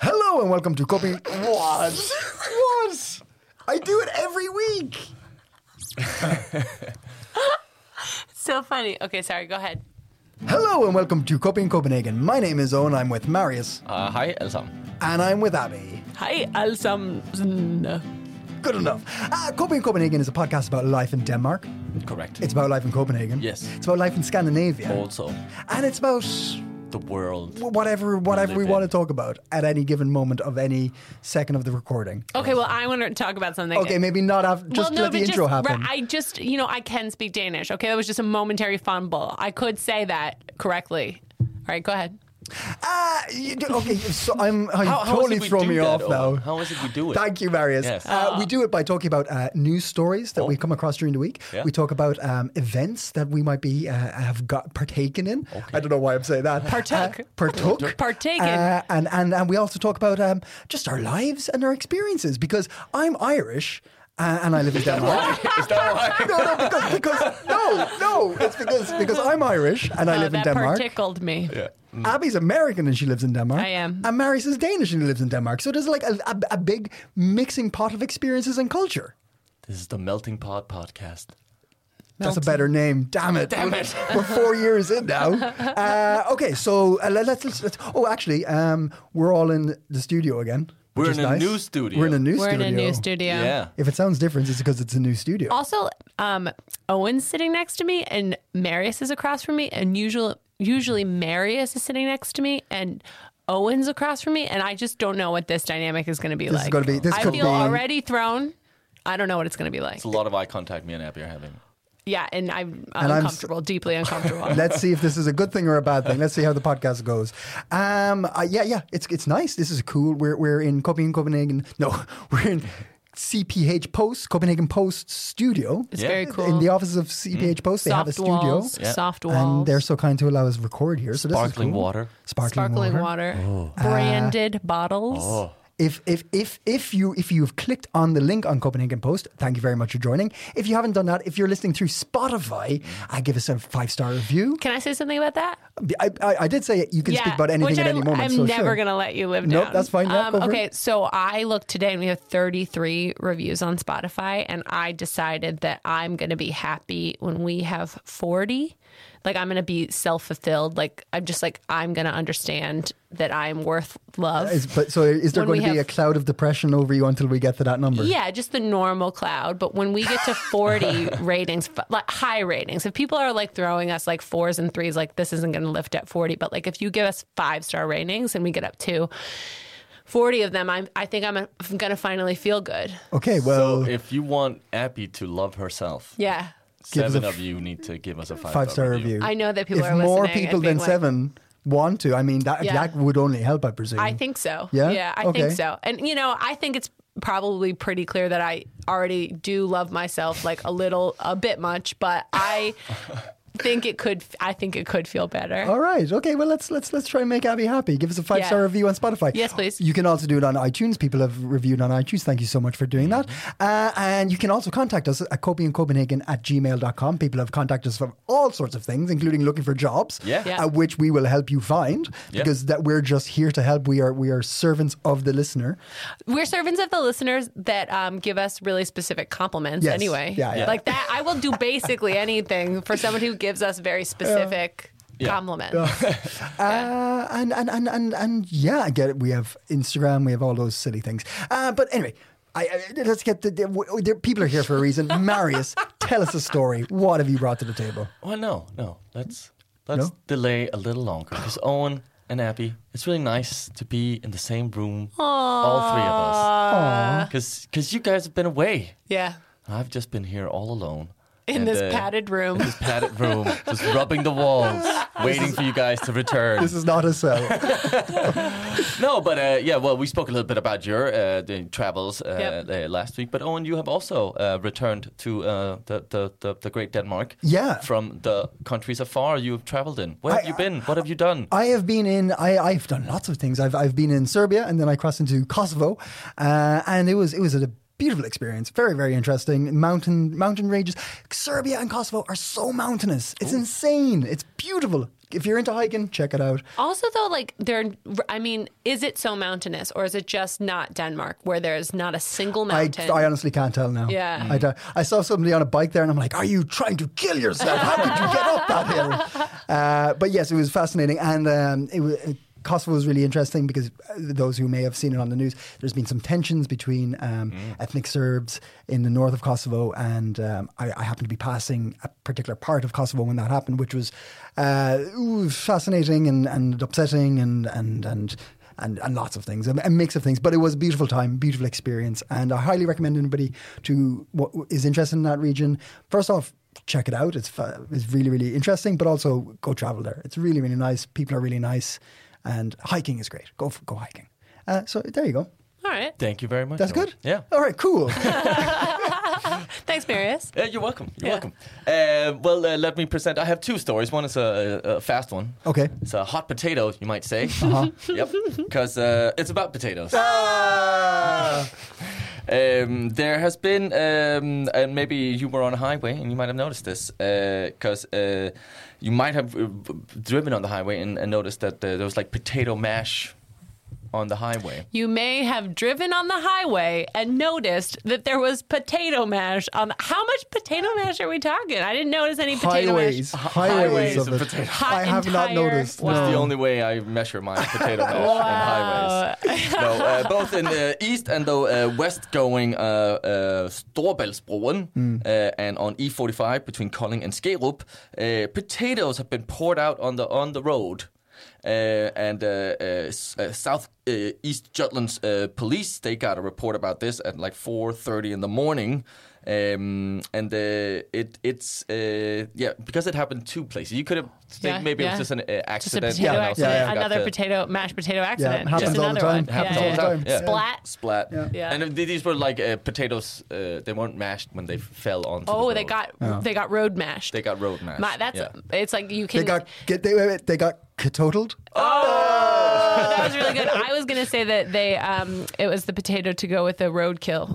Hello and welcome to Copy. What? what? I do it every week. So funny. Okay, sorry. Go ahead. Hello and welcome to Copy in Copenhagen. My name is Owen. I'm with Marius Uh, hi, allesammen. and I'm with Abby. Hi, allesammans. Good enough. Uh, Copy in Copenhagen is a podcast about life in Denmark. Correct. It's about life in Copenhagen. Yes. It's about life in Scandinavia. also And it's about the world. whatever whatever we Live want to it. talk about at any given moment of any second of the recording. Okay, well, I want to talk about something. Okay, maybe not after. Just let the intro just, happen. I just, you know, I can speak Danish. Okay, that was just a momentary fumble. I could say that correctly. All right, go ahead. Ah, you do- okay, so I'm oh, you How- how is totally it we throw do me that, off or now. how is it we do it? Thank you, Marius. Yes. Oh. Uh, we do it by talking about uh, news stories that we come across during the week. Yeah. We talk about um, events that we might be uh, have got partaken in. I don't know why I'm saying that. Partook. Uh, partook. Partaken. Uh, and and and we also talk about um, just our lives and our experiences because I'm Irish. Uh, and I live in Denmark. Is that why? no, no, because, because no, no, it's because because I'm Irish and I Oh, live in that Denmark. part tickled me. Mm. Abby's American and she lives in Denmark. I am. And Marius is Danish and he lives in Denmark. So there's like a, a, a big mixing pot of experiences and culture. This is the Melting Pot podcast. That's a better name. Damn it. Damn it. We're four years in now. Uh, okay, so uh, let- let's, let's, let's. Oh, actually, um, we're all in the studio again. which We're is in a nice. new studio. We're in a new We're in studio. a new studio. Yeah. If it sounds different, it's because it's a new studio. Also, um, Owen's sitting next to me, and Marius is across from me, and usually, usually Marius is sitting next to me, and Owen's across from me, and I just don't know what this dynamic is going to be This is like. gonna be- this I could feel be- already thrown. I don't know what it's going to be like. It's a lot of eye contact me and Abby are having. Yeah, and I'm And I'm s- uncomfortable, deeply uncomfortable. Let's see if this is a good thing or a bad thing. Let's see how the podcast goes. Um, uh, yeah, yeah, it's it's nice. This is cool. We're we're in Copenhagen, Copenhagen. No, we're in CPH Post, Copenhagen Post Studio. It's Yeah. very cool. In the offices of CPH Post, they soft have a studio, walls, Yeah. soft walls, and they're so kind to allow us record here. So this is Sparkling cool. water. sparkling, sparkling water. Uh, water, Oh. branded bottles. If if if if you if you've clicked on the link on Copenhagen Post, thank you very much for joining. If you haven't done that, if you're listening through Spotify, I give us a five star review. Can I say something about that? I, I, I did say you can speak about anything which at I, any moment. I'm so never sure. going to let you live Nope, down. that's fine. Yeah, um, go for okay, it. so I looked today and we have 33 reviews on Spotify, and I decided that I'm going to be happy when we have 40. Like, I'm going to be self fulfilled. Like, I'm just like, I'm going to understand that I'm worth love. Is, but so is there When going we to be a have- cloud of depression over you until we get to that number? Yeah, just the normal cloud. But when we get to 40 ratings, f- like high ratings, if people are like throwing us like fours and threes, like this isn't going to lift at 40. But like if you give us five star ratings and we get up to 40 of them, I'm, I think I'm going to finally feel good. Okay. Well, So if you want Abby to love herself, Yeah. Give us seven a of you need to give us a five, five star review. I know that people if are more listening and people being than like- seven want to, I mean that Yeah. that would only help, I presume. I think so. Yeah? I Okay. think so. And you know, I think it's probably pretty clear that I already do love myself like a little a bit much, but I think it could I think it could feel better. All right. Okay. Well, let's let's let's try and make Abby happy. Give us a five star Yeah. review on Spotify. Yes, please. You can also do it on iTunes. People have reviewed on iTunes. Thank you so much for doing that. Mm-hmm. Uh, and you can also contact us at copenhagen at gmail.com. People have contacted us for all sorts of things, including looking for jobs, Yeah. Yeah. uh, which we will help you find Yeah. because that we're just here to help. We are we are servants of the listener. We're servants of the listeners that um, give us really specific compliments Yes. anyway. Yeah, yeah. Like that, I will do basically anything for someone who gives us very specific compliments. Uh, and, and, and, and, and yeah, I get it. We have Instagram, we have all those silly things. Uh, but anyway, I, I, let's get the, the, w- the people are here for a reason. Marius, tell us a story. What have you brought to the table? Well, no, no. Let's let's No? delay a little longer because Owen and Abby, it's really nice to be in the same room, all three of us, because you guys have been away. Yeah. I've just been here all alone. in And, this uh, padded room. This padded room, just rubbing the walls, waiting for you guys to return. This is not a cell. No, but uh, yeah, well, we spoke a little bit about your uh, the travels uh, Yep. uh, last week. But Owen, you have also uh, returned to uh, the, the, the the great Denmark. Yeah. From the countries afar you have traveled in. Where have I- you been? What have you done? I have been in. I, I've done lots of things. I've, I've been in Serbia, and then I crossed into Kosovo, uh, and it was it was a beautiful experience. Very very interesting. Mountain mountain ranges. Serbia and Kosovo are so mountainous. It's insane. It's beautiful. If you're into hiking, check it out. Also, though, like there, I mean, is it so mountainous, or is it just not Denmark, where there's not a single I, mountain? I honestly can't tell now. Yeah. I, don't- I saw somebody on a bike there and I'm like, are you trying to kill yourself? How did you get up that hill? Uh, but yes, it was fascinating. And um, it was, Kosovo was really interesting because uh, those who may have seen it on the news, there's been some tensions between um, ethnic Serbs in the north of Kosovo. And um, I, I happened to be passing a particular part of Kosovo when that happened, which was uh, ooh, fascinating and, and upsetting and, and, and and, and lots of things, a, a mix of things. But it was a beautiful time, beautiful experience, and I highly recommend anybody to what is interested in that region. First off, check it out; it's fa- it's really really interesting, but also go travel there. It's really really nice. People are really nice, and hiking is great. Go for, go hiking. Uh, so there you go. All right, Thank you very much. That's Owen. good. Yeah. All right. Cool. thanks, Marius. Yeah, you're welcome. You're Yeah. welcome. Uh, well, uh, let me present. I have two stories. One is a, a a fast one. Okay. It's a hot potato, you might say. Uh-huh. yep. Because uh, it's about potatoes. Um, there has been, um, and maybe you were on a highway and you might have noticed this, because uh, you might have uh, driven on the highway and, and noticed that uh, there was like potato mash on the highway. You may have driven on the highway and noticed that there was potato mash on. The, how much potato mash are we talking? I didn't notice any potato highways, mash. highways, highways of of it. potatoes. I have not Entire- noticed. Wow. That's the only way I measure my potato mash and highways. no, uh, both in the east and the uh, west going uh, uh, Storbæltsbroen Hmm. uh, and on E45 between Kolding and Skerup, uh, potatoes have been poured out on the on the road. Uh, and uh, uh, s- uh, South uh, East Jutland's uh, police they got a report about this at like 4:30 in the morning, um, and uh, it it's uh, yeah because it happened two places. You could have think Yeah, maybe it was yeah. just an uh, Just a accident. potato Yeah, accident. yeah, yeah. Another Got the- potato mashed potato Yeah, accident. it happens Just all the another time. One. Happens yeah, all the yeah. time. Yeah. Splat. Splat. Yeah. And th- these were like uh, potatoes. Uh, they weren't mashed when they fell onto. the Oh, road. they got they got road mashed. They got road mashed. My, that's yeah. it's like you can. They got get they, wait, wait, they got totaled. Oh, that was really good. I was gonna say that they um it was the potato to go with the roadkill.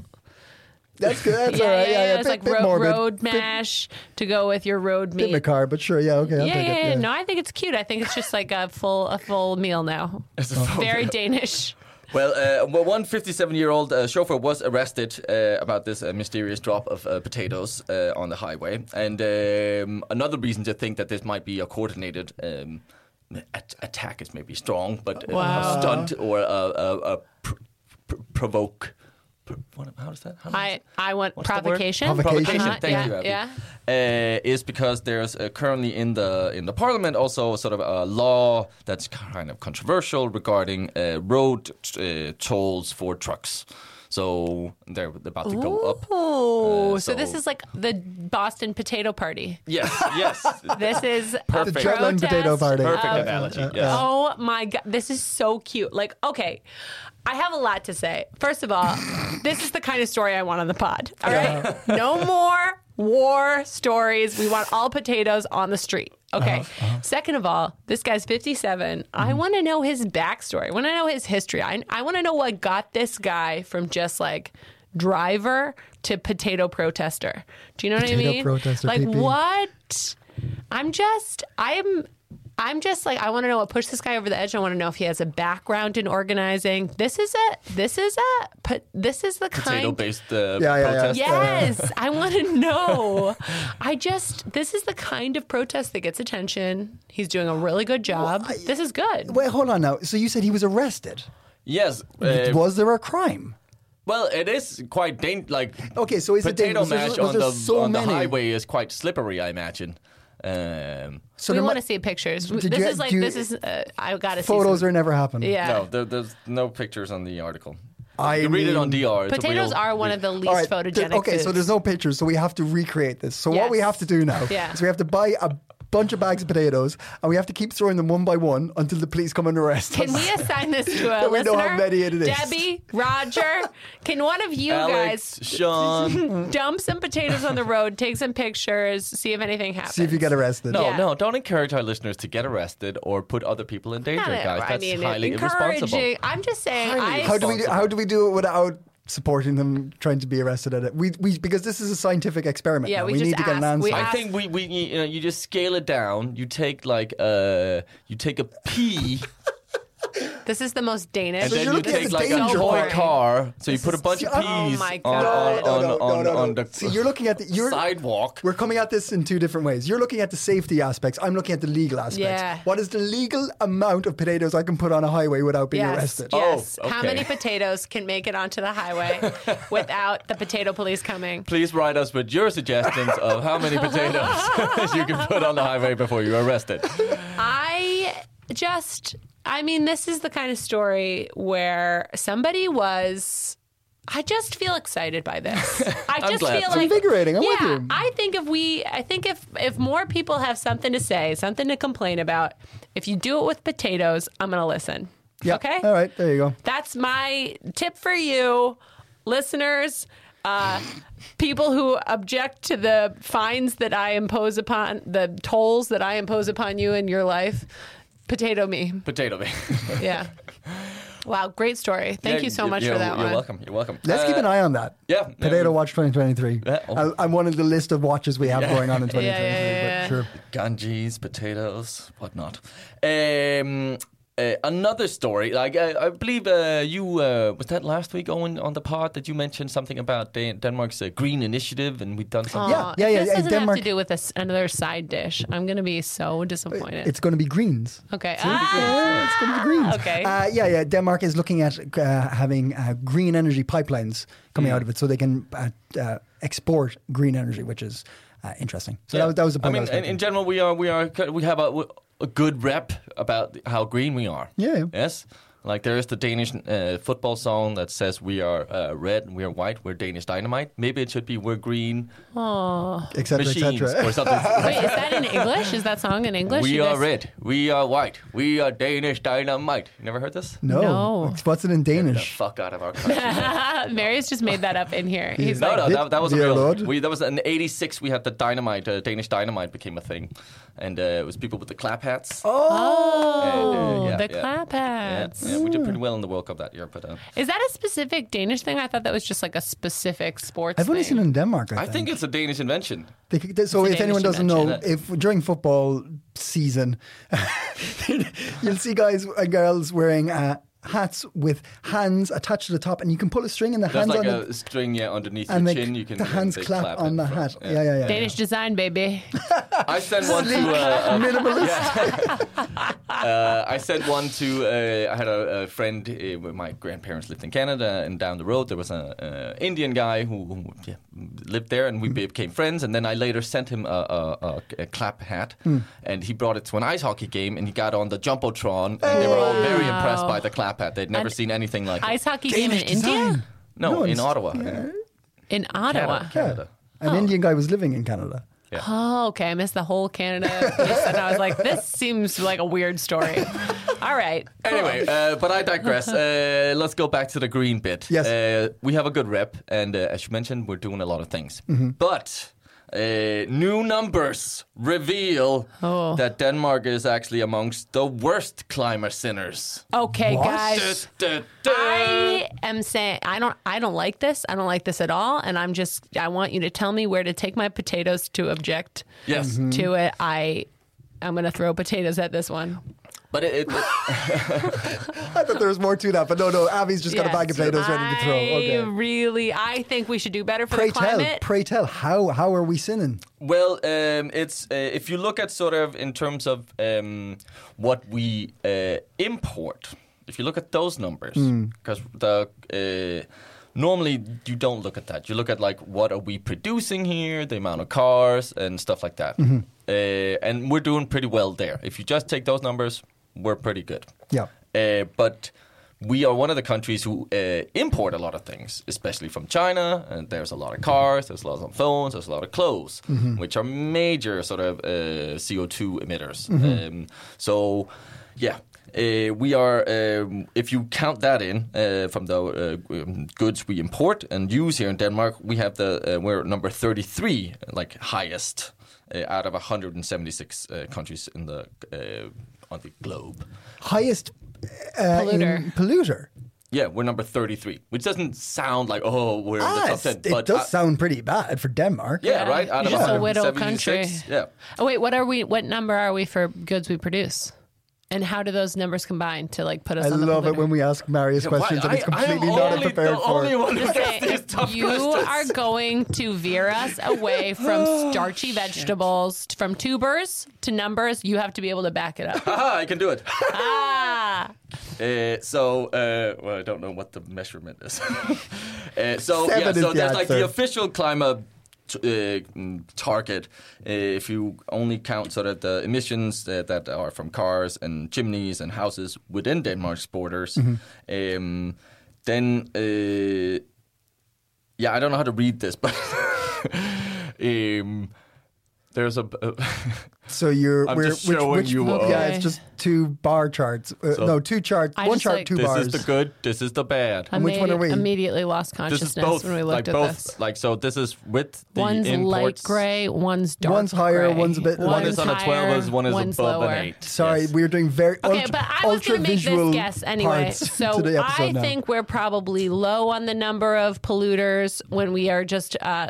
That's good. That's Yeah, all right. yeah, yeah. It's Bit- like bit ro- morbid. road Bit- mash to go with your road Bit meat. macabre, but sure. Yeah. Okay. I'll yeah, yeah, take it. yeah, No, I think it's cute. I think it's just like a full a full meal now. Very Danish. Well, uh, well, one 57-year-old uh, chauffeur was arrested uh, about this uh, mysterious drop of uh, potatoes uh, on the highway, and um, another reason to think that this might be a coordinated. Um, at- attack is maybe strong, but uh, Wow. a stunt or a, a, a pr- pr- provoke. Pr- what, how does that? How does I I want What's the word? provocation. Provocation. Provocation. Uh-huh, Thank yeah, you, Abby. yeah. Uh, is because there's uh, currently in the in the parliament also sort of a law that's kind of controversial regarding uh, road uh, tolls for trucks. So they're about to go up. Oh, Uh, so, this so- is like the Boston potato party. Yes, yes. This is Perfect. a The Jutland potato protest party. Perfect Uh, analogy. uh, yes. Oh my god, this is so cute. Like, okay, I have a lot to say. First of all, this is the kind of story I want on the pod. All right, no more war stories. We want all potatoes on the street. Okay. Uh-huh, Second of all, this guy's 57. Mm-hmm. I want to know his backstory. I want to know his history. I, I want to know what got this guy from just like driver to potato protester. Do you know what I Potato mean? protester, like, PP. what? I'm just I'm I'm just like I want to know what pushed this guy over the edge. I want to know if he has a background in organizing. This is a this is a po- this is the kind Potato-based uh, Yeah, yeah, yeah. protest. Yes, I want to know. I just this is the kind of protest that gets attention. He's doing a really good job. this is good. uh, Wait, hold on now. So you said he was arrested. Yes. uh, Was there a crime? Well, it is quite dang- like Okay, so is it potato dang- was there- mash was on there the so on many? the highway is quite slippery, I imagine. Um, So we there want mi- to see pictures. Did this you- is like do you- this is uh, I got to see photos some- are never happening. yeah. no, there, there's no pictures on the article. I you read it on mean- DR. It's a Potatoes real- are one of the least All right, photogenic. th- okay, so foods. there's no pictures, so we have to recreate this. So what we Yes. have to do now Yeah. is we have to buy a bunch of bags of potatoes, and we have to keep throwing them one by one until the police come and arrest Can us. we assign this to a That we know listener? how many it is. Debbie, Roger, can one of you Alex, Sean. guys dump some potatoes on the road, take some pictures, see if anything happens? See if you get arrested. No, Yeah. no, don't encourage our listeners to get arrested or put other people in danger, Not a- guys. I That's mean, highly irresponsible. encouraging. I'm just saying. Highly I, How do we do, responsible. how do we do it without supporting them trying to be arrested at it? We, we because this is a scientific experiment. Yeah, now. we we, just need to get an ask- answer. we I ask- think we, we you know you just scale it down. You take like uh you take a pea this is the most Danish. and So then you're you looking at take the like a danger toy part. car. So you put a bunch of Oh peas my on on God. No, no, no, on no, no, on no. the See, you're looking at the you're, sidewalk. We're coming at this in two different ways. You're looking at the safety aspects. I'm looking at the legal aspects. Yeah. What is the legal amount of potatoes I can put on a highway without being Yes. arrested? Yes. Oh, How okay. many potatoes can make it onto the highway without the potato police coming? Please write us with your suggestions of how many potatoes you can put on the highway before you're arrested. I just, I mean, this is the kind of story where somebody was. I just feel excited by this. I just glad. feel It's like invigorating. I'm yeah, with you. I think if we, I think if if more people have something to say, something to complain about, if you do it with potatoes, I'm gonna listen. Yeah. Okay. All right. There you go. That's my tip for you, listeners. Uh, people who object to the fines that I impose upon the tolls that I impose upon you in your life, potato me. Potato me. Yeah. Wow, great story. Thank you so much for that you're one. You're welcome. You're welcome. Let's keep an eye on that. Uh, yeah, yeah, Potato we- Watch 2023. Yeah, oh. I- I'm one of the list of watches we have going on in 2023. yeah, But sure. Uh, Ganges, potatoes, whatnot. Um, uh, another story, like I, I believe uh, you uh, was that last week, Owen, on the pod that you mentioned something about Dan- Denmark's uh, green initiative, and we've done something. Yeah, yeah, yeah, This yeah, doesn't Denmark- have to do with this, another side dish. I'm going to be so disappointed. It's going to be greens. okay. Yeah, Ah, it's going to be greens. Okay. Uh, yeah, yeah. Denmark is looking at uh, having uh, green energy pipelines coming Hmm. out of it, so they can uh, uh, export green energy, which is uh, interesting. So that, was- that was the point. I I mean, was in, making. in general, we are we are we have a, a good rep about how green we are. Yeah, yeah. Yes. Like there is the Danish uh, football song that says we are uh, red and we are white, we're Danish dynamite. Maybe it should be we're green et cetera, et machines cetera. or something. Wait, is that in English? Is that song in English? We You are guys- red. We are white. We are Danish dynamite. You never heard this? No. No. It's- What's it in The Danish? fuck out of our country. Ah, Mary's just made that up in here. He's no, like, no, that, that was a Dear real. Lord. We, that was in '86. We had the dynamite. Uh, Danish dynamite became a thing, and uh, it was people with the clap hats. Oh, oh, yeah, the yeah. clap yeah, hats. yeah, we Ah. did pretty well in the World Cup that year, but uh, Is that a specific Danish thing? I thought that was just like a specific sports. I've only seen thing. it in Denmark. I, I think it's a Danish invention. They could- they- so It's a if anyone Danish doesn't know, if during football season, you'll see guys and girls wearing uh, hats with hands attached to the top, and you can pull a string, and the There's hands like on a it, string yeah, underneath and your the- chin. You can the hands they clap, on in the front. hat. Yeah, yeah, yeah. Danish design, baby. I sent one to uh, minimalist. uh, I sent one to. Uh, I had a, a friend. Uh, where my grandparents lived in Canada, and down the road there was an uh, Indian guy who, who yeah, lived there, and we Mm-hmm. became friends. And then I later sent him a, a, a, a clap hat, Hmm. and he brought it to an ice hockey game, and he got on the jumbotron, and they were all very impressed by the clap hat. They'd never An seen anything like Ice it. hockey game in India, No, No, in it's- Ottawa, in in Ottawa. Canada. Canada. An Indian guy was living in Canada. Oh, okay. I missed the whole Canada, piece, and I was like, this seems like a weird story. All right. cool. Anyway, uh, but I digress. Uh, let's go back to the green bit. Yes. Uh, we have a good rep, and uh, as you mentioned, we're doing a lot of things. But uh, new numbers reveal Oh. that Denmark is actually amongst the worst climate sinners. Okay, guys. Duh, duh, duh. I am saying I don't I don't like this. I don't like this at all. And I'm just I want you to tell me where to take my potatoes to object Yes. Mm-hmm. to it. I I'm gonna throw potatoes at this one. But it, it, I thought there was more to that, but no, no. Abby's just got a Yes. bag of potatoes ready to throw. I Okay. really I think we should do better for Pray the tell, climate. pray tell, how how are we sinning? Well, um, it's uh, if you look at sort of in terms of um, what we uh, import. If you look at those numbers, because the uh, normally you don't look at that. You look at like what are we producing here, the amount of cars and stuff like that. Uh, and we're doing pretty well there. If you just take those numbers, we're pretty good. Yeah. Uh, but we are one of the countries who uh, import a lot of things, especially from China. And there's a lot of cars, there's a lot of phones, there's a lot of clothes, which are major sort of uh, CO2 emitters. Um, so, yeah. Uh, we are, um, if you count that in uh, from the uh, um, goods we import and use here in Denmark, we have the uh, we're number 33, like highest uh, out of 176 uh, countries in the uh, on the globe. Highest uh, in- Polluter. polluter. Yeah, we're number 33, which doesn't sound like, oh, we're in the Ah, top 10. it's- it But does uh, sound pretty bad for Denmark. yeah, right? Out of Just a widow 176, country. Yeah. Oh wait, what are we? What number are we for goods we produce? And how do those numbers combine to like put us? I on the love it polluter? when we ask Marius questions Why- and it's I- I am completely not only prepared the for. only it. one who Okay, gets these tough you questions. are going to veer us away from Oh, starchy vegetables, from tubers to numbers. You have to be able to back it up. Haha, I can do it. ah, Uh, so, uh, well, I don't know what the measurement is. uh, so, Seven yeah, is so the there's like the answer. official climate t- uh, mm, target. Uh, if you only count sort of the emissions that, that are from cars and chimneys and houses within Denmark's borders, Mm-hmm. um, then uh, yeah, I don't know how to read this, but um, there's a. So you're I'm we're, just which, showing which, you Yeah, all. Okay. it's just two bar charts. Uh, no, two charts. I One just chart, like- two this bars. is the good. This is the bad. I which one are we? Immediately lost this is consciousness both when we like looked at both this. like so this is with the One's light imports gray, one's dark. One's higher, gray. one's a bit one lighter. is on a 12 higher, as one is one's above lower. an 8 Sorry, Yes. we're doing very Okay, ultra, but I was ultra going to make visual this guess anyway. parts So to the episode I now. think we're probably low on the number of polluters when we are just uh,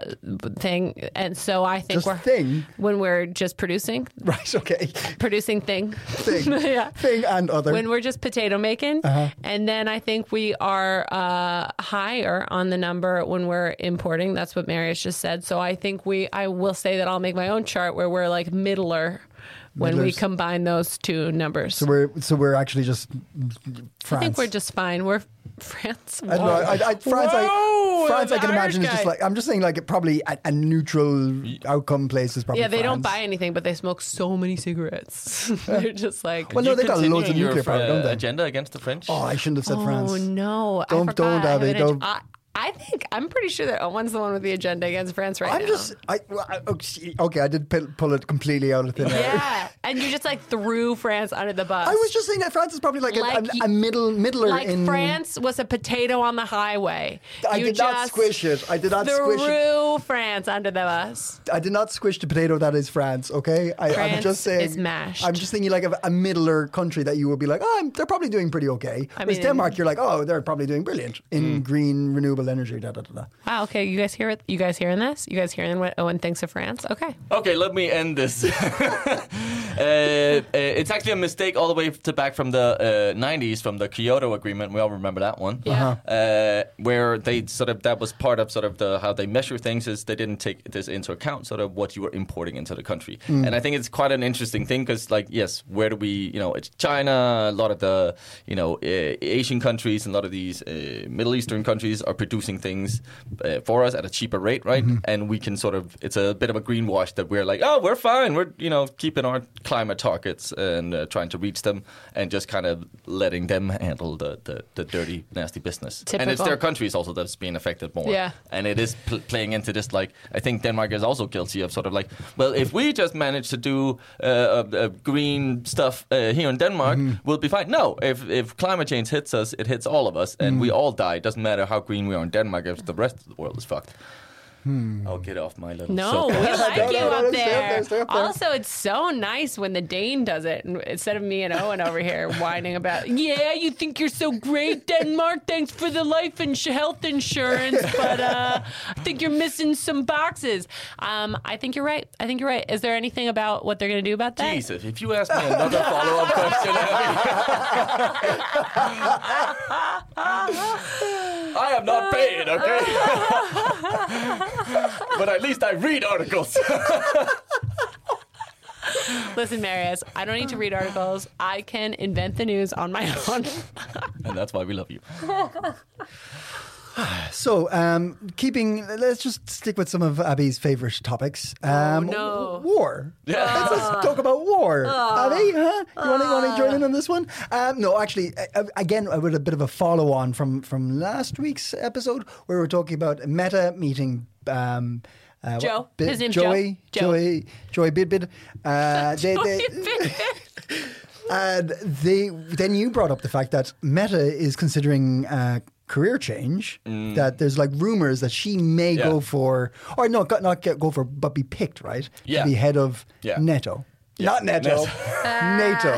thing, and so I think Just we're thing? when we're just producing right. Okay, producing thing. thing, yeah. thing, Uh-huh. and other. When we're just potato making, and then I think we are uh, higher on the number when we're importing. That's what Marius just said. So I think we, I will say that I'll make my own chart where we're like middler when we Middlers. combine those two numbers. so we're so we're actually just France. I think we're just fine. We're France. I don't know. I, I, France, Whoa, I, France, I an can Irish imagine is just guy. like I'm just saying, like it probably a, a neutral outcome place is probably. yeah, they don't France. buy anything, but they smoke so many cigarettes. They're just like, Well, no, You they got loads of continuing your, nuclear power, uh, don't they? agenda against the french Oh, I shouldn't have said France. oh no, Don't- I forgot. don't, I have Abby, an ag- don't. I, I think I'm pretty sure that Owen's the one with the agenda against France right I'm now. just, I, well, I- oh, see, okay, I did pull, pull it completely out of thin air. yeah, and you just like threw France under the bus. I was just saying that France is probably like, a- Like a, you- a, middle middler like in France was a potato on the highway. I you did just not squish it. I did not squish it. threw France under the bus. I did not squish the potato that is France. Okay, I, I'm France just saying. is mashed. I'm just thinking like of a middler country that you would be like, oh, I'm- they're probably doing pretty okay. Whereas mean- Denmark, you're like, oh, they're probably doing brilliant in green renewable energy. Da da da. da. Wow. Okay, you guys hear it? You guys hearing this? You guys hearing what Owen thinks of France? Okay. okay let me end this Uh, uh, it's actually a mistake all the way to back from the uh, 90s from the Kyoto Agreement. We all remember that one, Yeah. uh, where they sort of that was part of sort of the how they measure things is they didn't take this into account, sort of what you were importing into the country. And I think it's quite an interesting thing because, like, yes, where do we, you know, it's China, a lot of the, you know, uh, Asian countries and a lot of these uh, Middle Eastern countries are producing things uh, for us at a cheaper rate, right? And we can sort of it's a bit of a greenwash that we're like, oh, we're fine, we're you know keeping our climate targets and uh, trying to reach them, and just kind of letting them handle the the, the dirty, nasty business. And it's Typical. their countries also that's being affected more. Yeah. and it is pl- playing into this like I think Denmark is also guilty of sort of like, well, if we just manage to do uh, uh, uh, green stuff uh, here in Denmark, we'll be fine. No, if if climate change hits us, it hits all of us, and we all die. It doesn't matter how green we are in Denmark if the rest of the world is fucked. I'll get off my little. No, we soapbox. like no, you no, up, no, stay up there. there, stay up there. Also, it's so nice when the Dane does it and instead of me and Owen over here whining about, yeah, you think you're so great, Denmark. Thanks for the life and sh- health insurance, but uh, I think you're missing some boxes. Um, I think you're right. I think you're right. Is there anything about what they're going to do about that? Jesus, if you ask me another follow up question, Abby. I am not paid, okay? but at least I read articles. Listen, Marius, I don't need to read articles. I can invent the news on my own. and that's why we love you. So, um, keeping, let's just stick with some of Abby's favorite topics. Um, Oh, no. War. Let's, Ah. let's talk about war. Abby, huh? You want to join in on this one? Um, no, actually, uh, uh, again, I would a bit of a follow on from, from last week's episode where we were talking about Meta meeting. Um, uh, Joe. what- Bi- His name's Joey, Joe. Joey, Joey Bidbid. Uh, they, they, and they then you brought up the fact that Meta is considering uh, career change. That there's like rumors that she may Mm. Yeah. go for, or no, go- not get, go for, but be picked right Yeah. to be head of Yeah. NATO. Not NATO, NATO,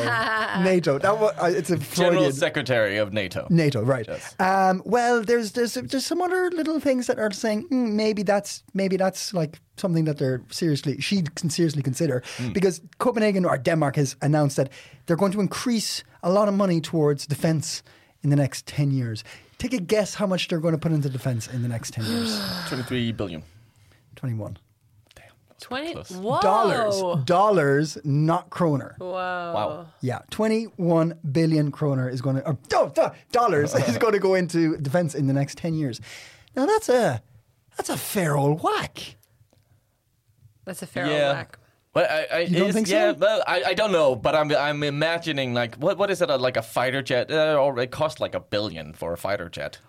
NATO. That was, uh, it's a General Freudian. Secretary of NATO. NATO, right? Yes. Um, well, there's there's there's some other little things that are saying mm, maybe that's maybe that's like something that they're seriously she can seriously consider because Copenhagen or Denmark has announced that they're going to increase a lot of money towards defense in the next ten years. Take a guess how much they're going to put into defense in the next ten years? 23 billion. Twenty-one Twenty Close. whoa. dollars, dollars, not kroner. Wow. Yeah, 21 billion kroner is going to, or do- do- dollars is going to go into defense in the next 10 years. Now that's a that's a fair old whack. That's a feral yeah. whack. Well, I, I, don't is- think so? yeah, well, I, I don't know, but I'm I'm imagining like what what is it uh, like a fighter jet? Uh, or it costs like a billion for a fighter jet.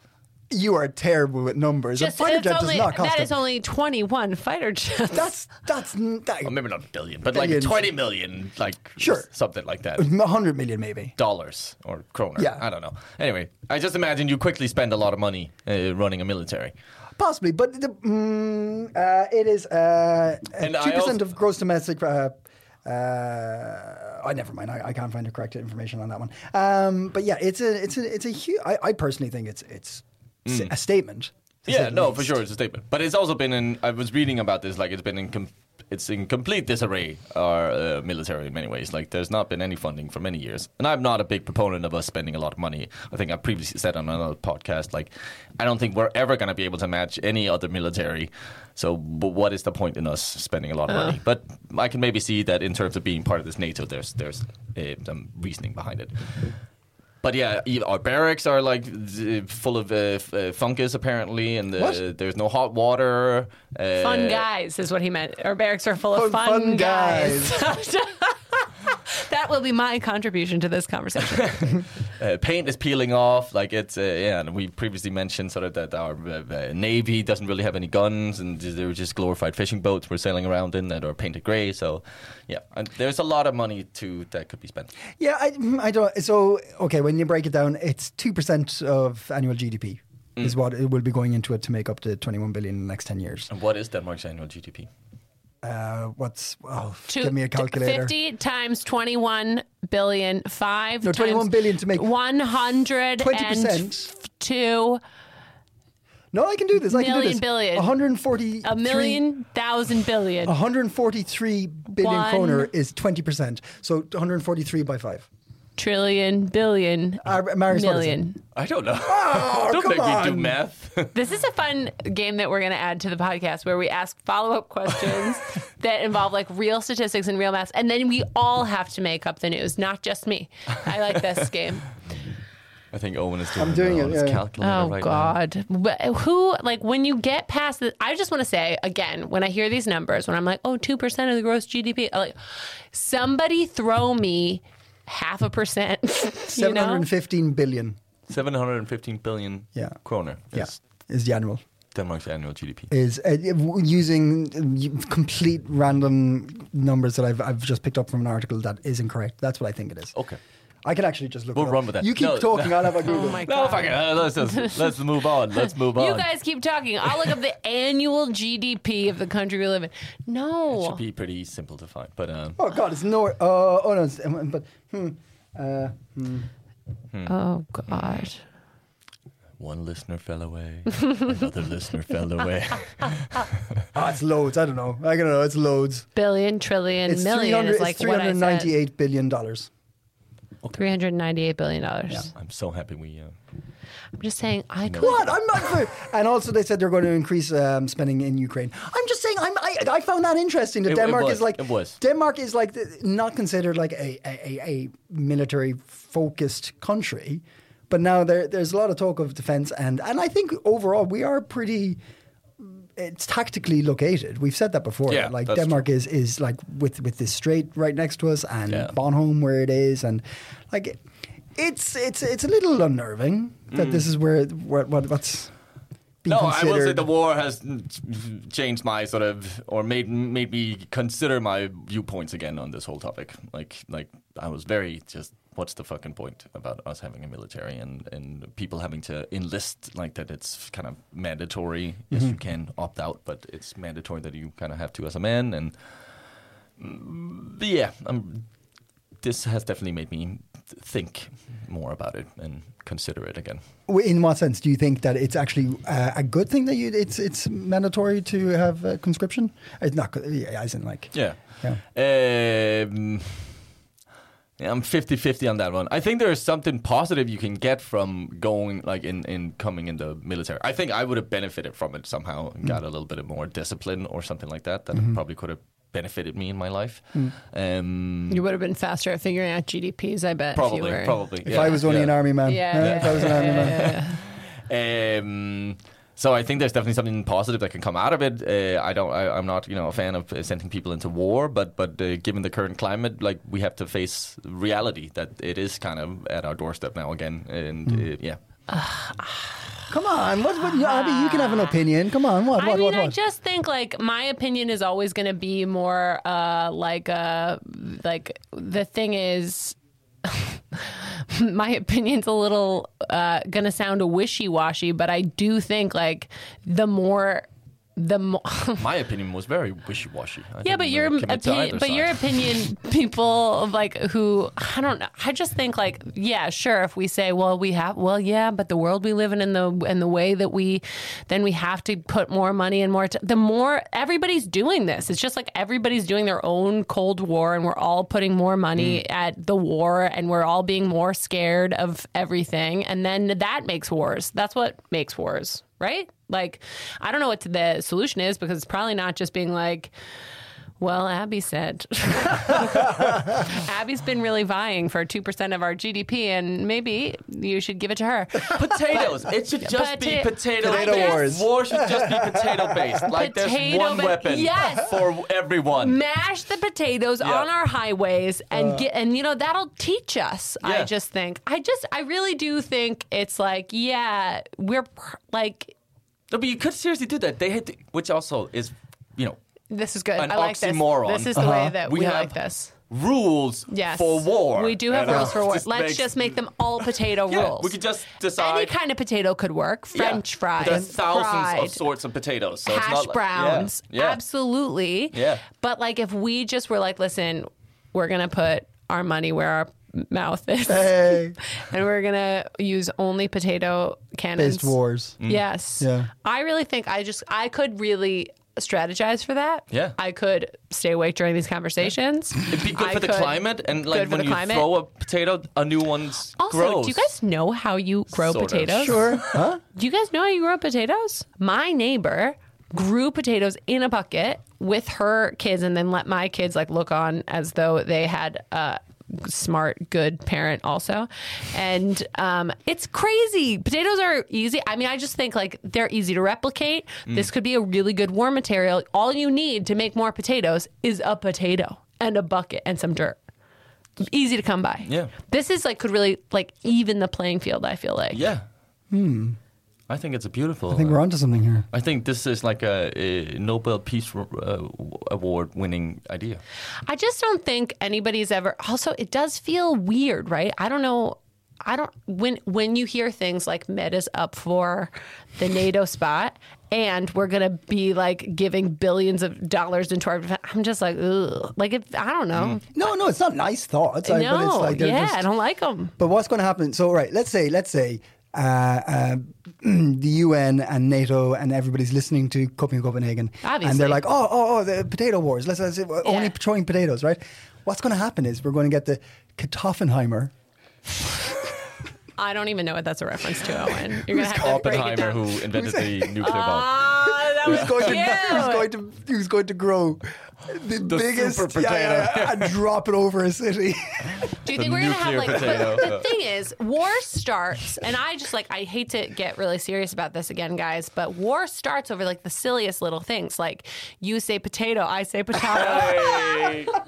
You are terrible with numbers. Just, a fighter it's jet only, does not cost that a- is only twenty-one fighter jets. That's that's n- that, Or maybe not a billion, but Billions. like twenty million, like Sure. something like that. 100 million maybe. Dollars or kroner. Yeah. I don't know. Anyway, I just imagine you quickly spend a lot of money uh, running a military. Possibly, but the, mm, uh, it is uh, uh, And I 2% also- of gross domestic. Uh, uh, oh, never mind. I, I can't find the correct information on that one. Um, but yeah, it's a it's a it's a huge. I, I personally think it's it's s- a statement. to say Mm. Yeah, the no, least. for sure, it's a statement. But it's also been in. I was reading about this. Like, it's been in. Com- it's in complete disarray. Our uh, military, in many ways, like there's not been any funding for many years. And I'm not a big proponent of us spending a lot of money. I think I previously said on another podcast, like, I don't think we're ever going to be able to match any other military. So, but what is the point in us spending a lot Uh. of money? But I can maybe see that in terms of being part of this NATO, there's there's uh, some reasoning behind it. But yeah, e- our barracks are like z- full of uh, f- uh, fungus apparently, and uh, What? there's no hot water. Uh, Fun guys is what he meant. Our barracks are full Fun- of fun, fun guys. that will be my contribution to this conversation. uh, paint is peeling off. Like it's uh, yeah, and we previously mentioned sort of that our uh, uh, navy doesn't really have any guns, and they were just glorified fishing boats we're sailing around in that are painted gray. So yeah, and there's a lot of money to that could be spent. Yeah, I, mm, I don't. So okay, when you break it down, it's two percent of annual GDP Mm. is what it will be going into it to make up to twenty one billion in the next ten years. And what is Denmark's annual GDP? Uh, what's oh, Two- give me a calculator. Fifty times twenty-one billion five. No, 21 billion to make- one hundred 20%. two No, I can do this. I can do Million this. billion. 140 a million thousand billion. Oh. 143 billion One. kroner is 20%. So 143 by 5. trillion billion Uh, Marius, what is it? million. I don't know. Oh, don't come make me do on. math. This is a fun game that we're going to add to the podcast where we ask follow up questions that involve like real statistics and real maths. And then we all have to make up the news, not just me. I like this game. I think Owen is doing, doing it, Owen's yeah. calculator Oh, right now. God. But Who, like, when you get past the, I just want to say again, when I hear these numbers, when I'm like, oh, 2% of the gross GDP, I'm like, somebody throw me half a percent. you know? 715 billion. 715 billion Yeah. kroner is Yeah. Is the annual. Denmark's annual GDP. Is uh, w- using uh, complete random numbers that I've, I've just picked up from an article that is incorrect. That's what I think it is. Okay. I can actually just look We'll it up. run with that. You keep No, talking, no. I'll have a Google. Oh, my No, God. fuck it. Uh, Let's, just, let's move on. Let's move on. You guys keep talking. I'll look up the annual GDP of the country we live in. No. should be pretty simple to find, but um, Oh, God, it's no. Uh, oh, no. It's, um, but, hmm. Uh, Oh God. one listener fell away, another listener fell away. oh, it's loads. I don't know. I don't know. It's loads. Billion, trillion, It's, million 300, is like it's 398 billion dollars. Three hundred ninety-eight billion dollars. I'm so happy we. Uh, I'm just saying, I could. What? I'm not. For, and also, they said they're going to increase um, spending in Ukraine. I'm just saying. I'm, I I found that interesting. That It- it Denmark was, is like it was. Denmark is like the, not considered like a a, a, a military focused country, But now there, there's a lot of talk of defense, and and I think overall we are pretty. It's tactically located. We've said that before. Yeah, like that's Denmark is is like with with this strait right next to us, and Yeah. Bonholm where it is, and like it, it's it's it's a little unnerving that this is where what what what's. being Mm. No, I will say considered. the war has mm, changed my sort of, or made made me consider my viewpoints again on this whole topic. Like, like I was very just, what's the fucking point about us having a military and and people having to enlist like that? It's kind of mandatory. Yes, you can opt out, but it's mandatory that you kind of have to as a man. And mm, yeah, um this has definitely made me th- think more about it and consider it again. In what sense do you think that it's actually uh, a good thing that you it's it's mandatory to have uh, conscription? It's not good, yeah, as in like Yeah. Um, yeah, I'm 50-50 on that one. I think there is something positive you can get from going like in, in coming in the military. I think I would have benefited from it somehow and Mm. got a little bit of more discipline or something like that that Mm-hmm. probably could have benefited me in my life. Mm. Um, You would have been faster at figuring out GDPs, I bet. if you probably, were. probably. if yeah, I was only yeah. an army man. Yeah. Uh, Yeah. If I was an army man. Um, so I think there's definitely something positive that can come out of it. Uh, I don't. I, I'm not, you know, a fan of uh, sending people into war, but but uh, given the current climate, like we have to face reality that it is kind of at our doorstep now again. And Hmm. uh, yeah, Come on, what? what you, Abby, you can have an opinion. Come on, what? What? Ah. I mean, what? I what? just think like my opinion is always going to be more uh, like uh, like the thing is. My opinion's a little uh, gonna sound wishy washy, but I do think like the more, the more. my opinion was very wishy washy. yeah, but your opinion, but your opinion, people of, like who I don't know. I just think like yeah, sure. If we say well, we have well, yeah, but the world we live in and the and the way that we, then we have to put more money and more. T- the more everybody's doing this, it's just like everybody's doing their own Cold War, and we're all putting more money at the war, and we're all being more scared of everything, and then that makes wars. That's what makes wars. Right? Like, I don't know what the solution is because it's probably not just being like, well, Abby said. Abby's been really vying for 2% of our GDP, and maybe you should give it to her. potatoes. it should just be Pota- potato. Potato based. wars. War should just be potato based. Like there's Potato one ba- weapon Yes. for everyone. Mash the potatoes on our highways and get, and you know, that'll teach us. I Uh. Yeah. just think, I just, I really do think it's like, yeah, we're pr- like, No, but you could seriously do that. They had, to, which also is, you know, this is good. An I like oxymoron. Uh-huh. this. This is the way that we, We have like this. rules Yes. for war. We do have And, uh, rules for war. this Let's makes- just make them all potato Yeah, rules. we could just decide. Any kind of potato could work. Yeah. French But fries. There's thousands fried. of sorts of potatoes. So it's hash not like- browns. Yeah. yeah. Absolutely. Yeah. But like if we just were like, listen, we're gonna put our money where our mouth is. Hey, And we're gonna use only potato cannons. based wars. Mm. Yes. Yeah. I really think I just I could really strategize for that. Yeah. I could stay awake during these conversations. It'd be good I for the could- climate, and good like for when the you climate. throw a potato, a new one's Also, grows. do you guys know how you grow Sort of. potatoes? Sure, huh? Do you guys know how you grow potatoes? My neighbor grew potatoes in a bucket with her kids and then let my kids like look on as though they had a smart good parent also and um, it's crazy potatoes are easy i mean i just think like they're easy to replicate Mm. this could be a really good war material all you need to make more potatoes is a potato and a bucket and some dirt easy to come by Yeah. this is like could really like even the playing field i feel like Yeah. Hmm. I think it's a beautiful. uh, I think we're onto something here. I think this is like a, a Nobel Peace uh, Award-winning idea. I just don't think anybody's ever. Also, it does feel weird, right? I don't know. I don't when when you hear things like Meta's up for the NATO spot and we're gonna be like giving billions of dollars into our. defense, I'm just like, ugh. like if I don't know. No, no, it's not nice thoughts. I- but it's no, like they're yeah, just, I don't like them. But what's going to happen? So, right, let's say, let's say uh, uh, the UN and NATO and everybody's listening to Coping Copenhagen, and Obviously. they're like, oh, oh, oh, the potato wars. Let's, let's only throwing potatoes, right? What's going to happen is we're going to get the Katoffenheimer. I don't even know what that's a reference to, Owen. You're gonna Who's have to break it down. Oppenheimer, who invented the nuclear bomb. Ah, that was who's going, to, who's cute. going to who's going to grow the, The biggest super yeah, yeah, potato. yeah, and drop it over a city. Do you The think we're gonna have like? nuclear But potato. the thing is, war starts, and I just like I hate to get really serious about this again, guys. But war starts over like the silliest little things, like you say potato, I say potato.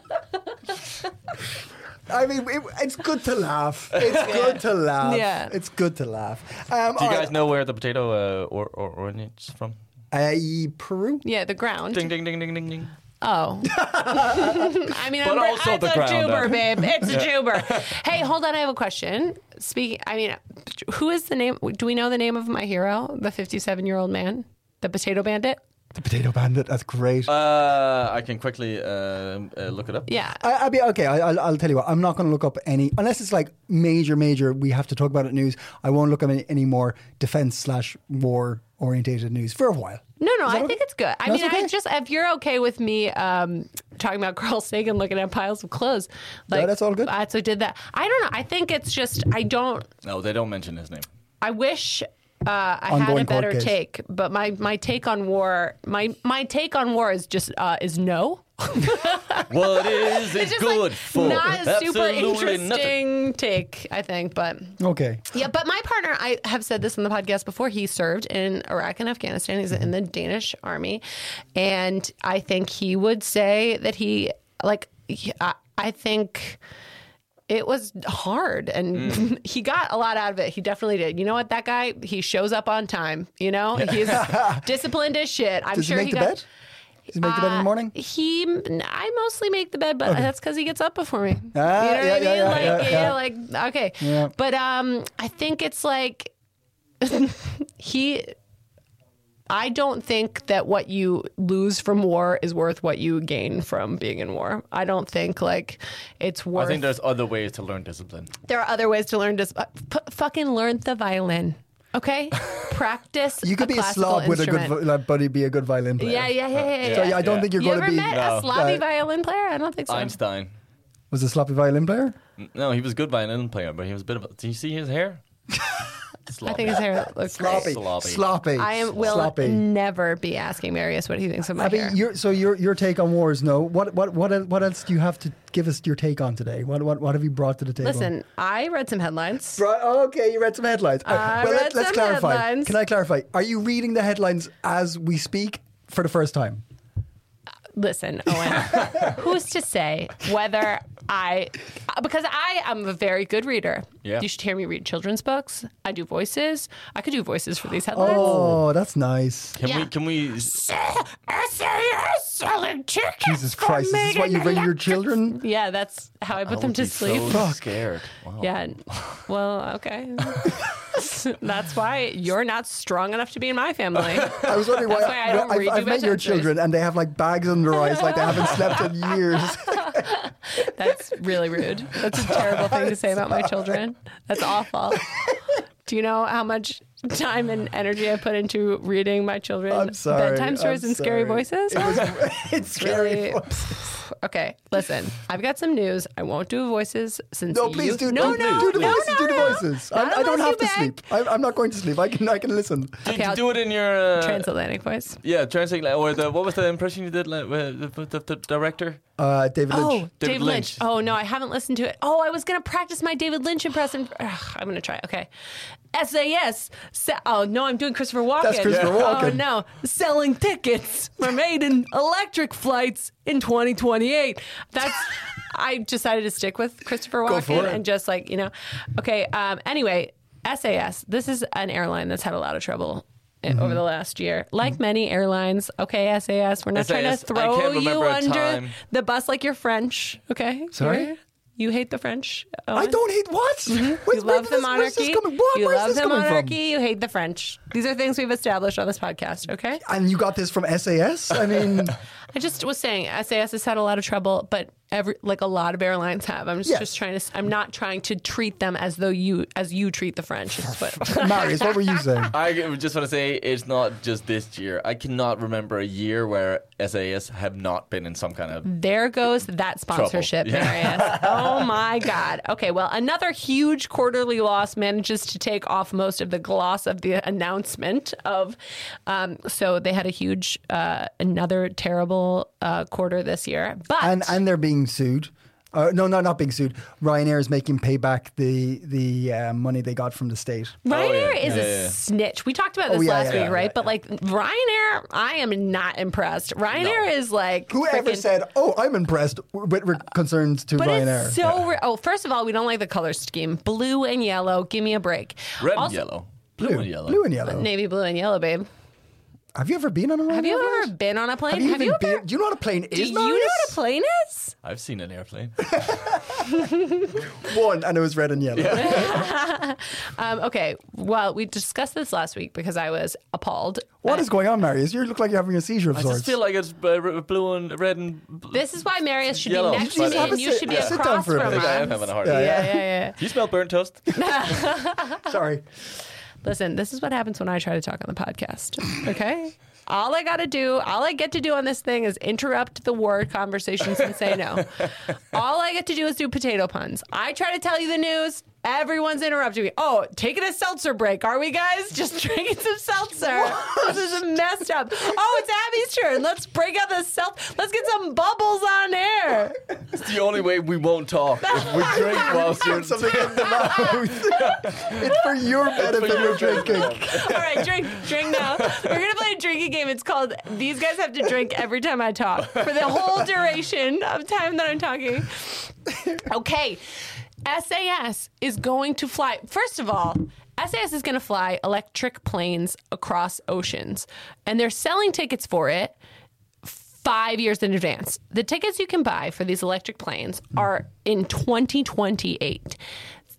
I mean, it, it's good to laugh. It's good to laugh. Yeah. it's good to laugh. Um, Do you guys know where the potato uh, or, or originates from? Uh, Peru. yeah, the ground. Ding ding ding ding ding ding. Oh, I mean, But I'm, also it's the a ground, juber, uh. babe. It's a juber. hey, hold on, I have a question. Speaking, I mean, who is the name? Do we know the name of my hero, the 57 year old man, the potato bandit? The potato bandit. That's great. Uh, I can quickly um, uh, look it up. Yeah. I, I'll be okay. I, I'll, I'll tell you what. I'm not going to look up any unless it's like major, major. We have to talk about it. News. I won't look up any, any more defense slash war orientated news for a while. No, no, I think it's good. I No, it's mean, I okay. just if you're okay with me um, talking about Carl Sagan looking at piles of clothes, like that's all good. I also did that. I don't know. I think it's just I don't. No, they don't mention his name. I wish uh, I had a Ongoing court better case. take, but my my take on war my my take on war is just uh, is no. What is it It's just good like for? not a super Absolutely interesting nothing. take, I think, but Okay. Yeah, but my partner, I have said this on the podcast before, he served in Iraq and Afghanistan. He's in the Danish army. And I think he would say that he, like, he- I, I think it was hard and Mm. he got a lot out of it. He definitely did. You know what? That guy, he shows up on time. You know, he's disciplined as shit. I'm Does sure he make he the got. bed? Does he make the bed in the Uh, morning? He, I mostly make the bed, but that's because he gets up before me. Ah, you yeah, know what I mean? yeah, yeah, like, yeah, yeah. like, okay. Yeah. But um, I think it's like he. I don't think that what you lose from war is worth what you gain from being in war. I don't think like it's I worth. think there's other ways to learn discipline. there are other ways to learn. Dis- uh, f- fucking learn the violin, okay? Practice. You could be a classical slob with a good instrument. vi- like, buddy, be a good violin player. yeah, yeah, yeah, yeah, yeah. So yeah, I don't think you're You going ever to be. Uh, met a sloppy violin player? I don't think so. Einstein. Was a sloppy violin player? No, he was a good violin player, but he was a bit of. a- Do you see his hair? I think his hair looks Sloppy. Great. Sloppy. Sloppy. I am- will Sloppy. never be asking Marius what he thinks of my Abby, hair. your, so your your take on war is no. What what what el- what else do you have to give us your take on today? What what what have you brought to the table? Listen, I read some headlines. Right, okay, you read some headlines. All I well, read let, us some clarify. headlines. Can I clarify? Are you reading the headlines as we speak for the first time? Listen, Owen, who's to say whether I, because I am a very good reader. Yeah. You should hear me read children's books. I do voices. I could do voices for these headlines. Oh, that's nice. Can Yeah. we? Can we? selling tickets. Jesus Christ, is this what you bring your children? E. Yeah, that's how I put I them would to be sleep. So scared. Wow. Yeah. Well, okay. That's why you're not strong enough to be in my family. I was wondering why, That's why I don't have read you I've met your messages. children and they have like bags under their eyes like they haven't slept in years. That's really rude. That's a terrible thing to say about my children. That's awful. Do you know how much time and energy I put into reading my children I'm sorry. bedtime stories I'm and scary sorry. voices? It was, it's scary. Really- okay, listen. I've got some news. I won't do voices since No, you- please do, no, do, no, do the no, voices. no, do the no. voices. Not I, I don't unless have you to beg. sleep. I, I'm not going to sleep. I can. I can listen. Do, Okay, I'll- do it in your uh, Transatlantic voice. Yeah, translate. Like, or the what was the impression you did? Like with the, with the, the director. Uh, David Lynch. Oh, David David Lynch. Lynch. Oh no, I haven't listened to it. Oh, I was gonna practice my David Lynch impression. Ugh, I'm gonna try. Okay, SAS. Se- oh no, I'm doing Christopher Walken. That's Christopher Yeah. Oh Walken. no, selling tickets for maiden electric flights in 2028. That's. I decided to stick with Christopher for Walken it. and just like you know. Okay. Um, anyway, SAS. This is an airline that's had a lot of trouble. i- Over the last year, like many airlines, okay, SAS, we're not trying to SAS, I throw can't you remember a under time. the bus like you're French, okay? Sorry? You're- You hate the French. I Owen? don't hate what? Mm-hmm. You love the monarchy. Where's this coming? What? You Where's love this the coming monarchy. You hate the French. These are things we've established on this podcast, okay? from? And you got this from SAS? I mean, I just was saying SAS has had a lot of trouble, but every like a lot of airlines have. I'm just, Yes. just trying to. s- I'm not trying to treat them as though you as you treat the French. is what- Marius, what were you saying? I just want to say it's not just this year. I cannot remember a year where SAS have not been in some kind of Mm. there goes that sponsorship, Trouble. Marius. oh my God. Okay, well, another huge quarterly loss manages to take off most of the gloss of the announcement of. Um, so they had a huge, uh, another terrible uh, quarter this year, but and and they're being sued. Uh, no, no, not being sued. Ryanair is making pay back the the uh, money they got from the state. Ryanair Oh, yeah. is Yeah, a yeah, yeah. snitch. We talked about this Oh, yeah, last yeah, week, yeah, right? but like Ryanair, I am not impressed. Ryanair is like Whoever frickin- said, "Oh, I'm impressed," with with concerns to But Ryanair. it's so. Re- oh, first of all, we don't like the color scheme. Blue and yellow. Give me a break. red and Also- yellow, blue, and yellow. Blue and yellow. Navy blue and yellow, babe. Have you ever been on a Ryanair? Have you ever flight? been on a plane? Have you even been? Do you know what a plane Do is? you know what a plane is? I've seen an airplane. Marius? One, and it was red and yellow. Um, okay. Well, we discussed this last week because I was appalled. What Uh, is going on, Marius? You look like you're having a seizure of I sorts. just feel like it's uh, r- blue and red and. Bl- This is why Marius should Yellow. be next You to just me, have a and you sit- should be yeah. sit down across for a from bit. I am us. having a heart. Yeah, yeah, attack. yeah. Do you smell burnt toast? Sorry. Listen, this is what happens when I try to talk on the podcast. Okay. all I got to do, all I get to do on this thing is interrupt the word conversations and say no. all I get to do is do potato puns. I try to tell you the news. Everyone's interrupting me. Oh, taking a seltzer break, are we guys? Just drinking some seltzer. This is messed up. Oh, it's Abby's turn. Let's break out the seltzer. Let's get some bubbles on air. It's the only way we won't talk. If we drink whilst you're. Something in the mouth. it's for your benefit your you're drinking. All right, drink, drink now. We're gonna play a drinking game. It's called "These guys have to drink every time I talk" for the whole duration of time that I'm talking. Okay, SAS is going to fly. First of all. SAS is going to fly electric planes across oceans, and they're selling tickets for it five years in advance. The tickets you can buy for these electric planes are in 2028.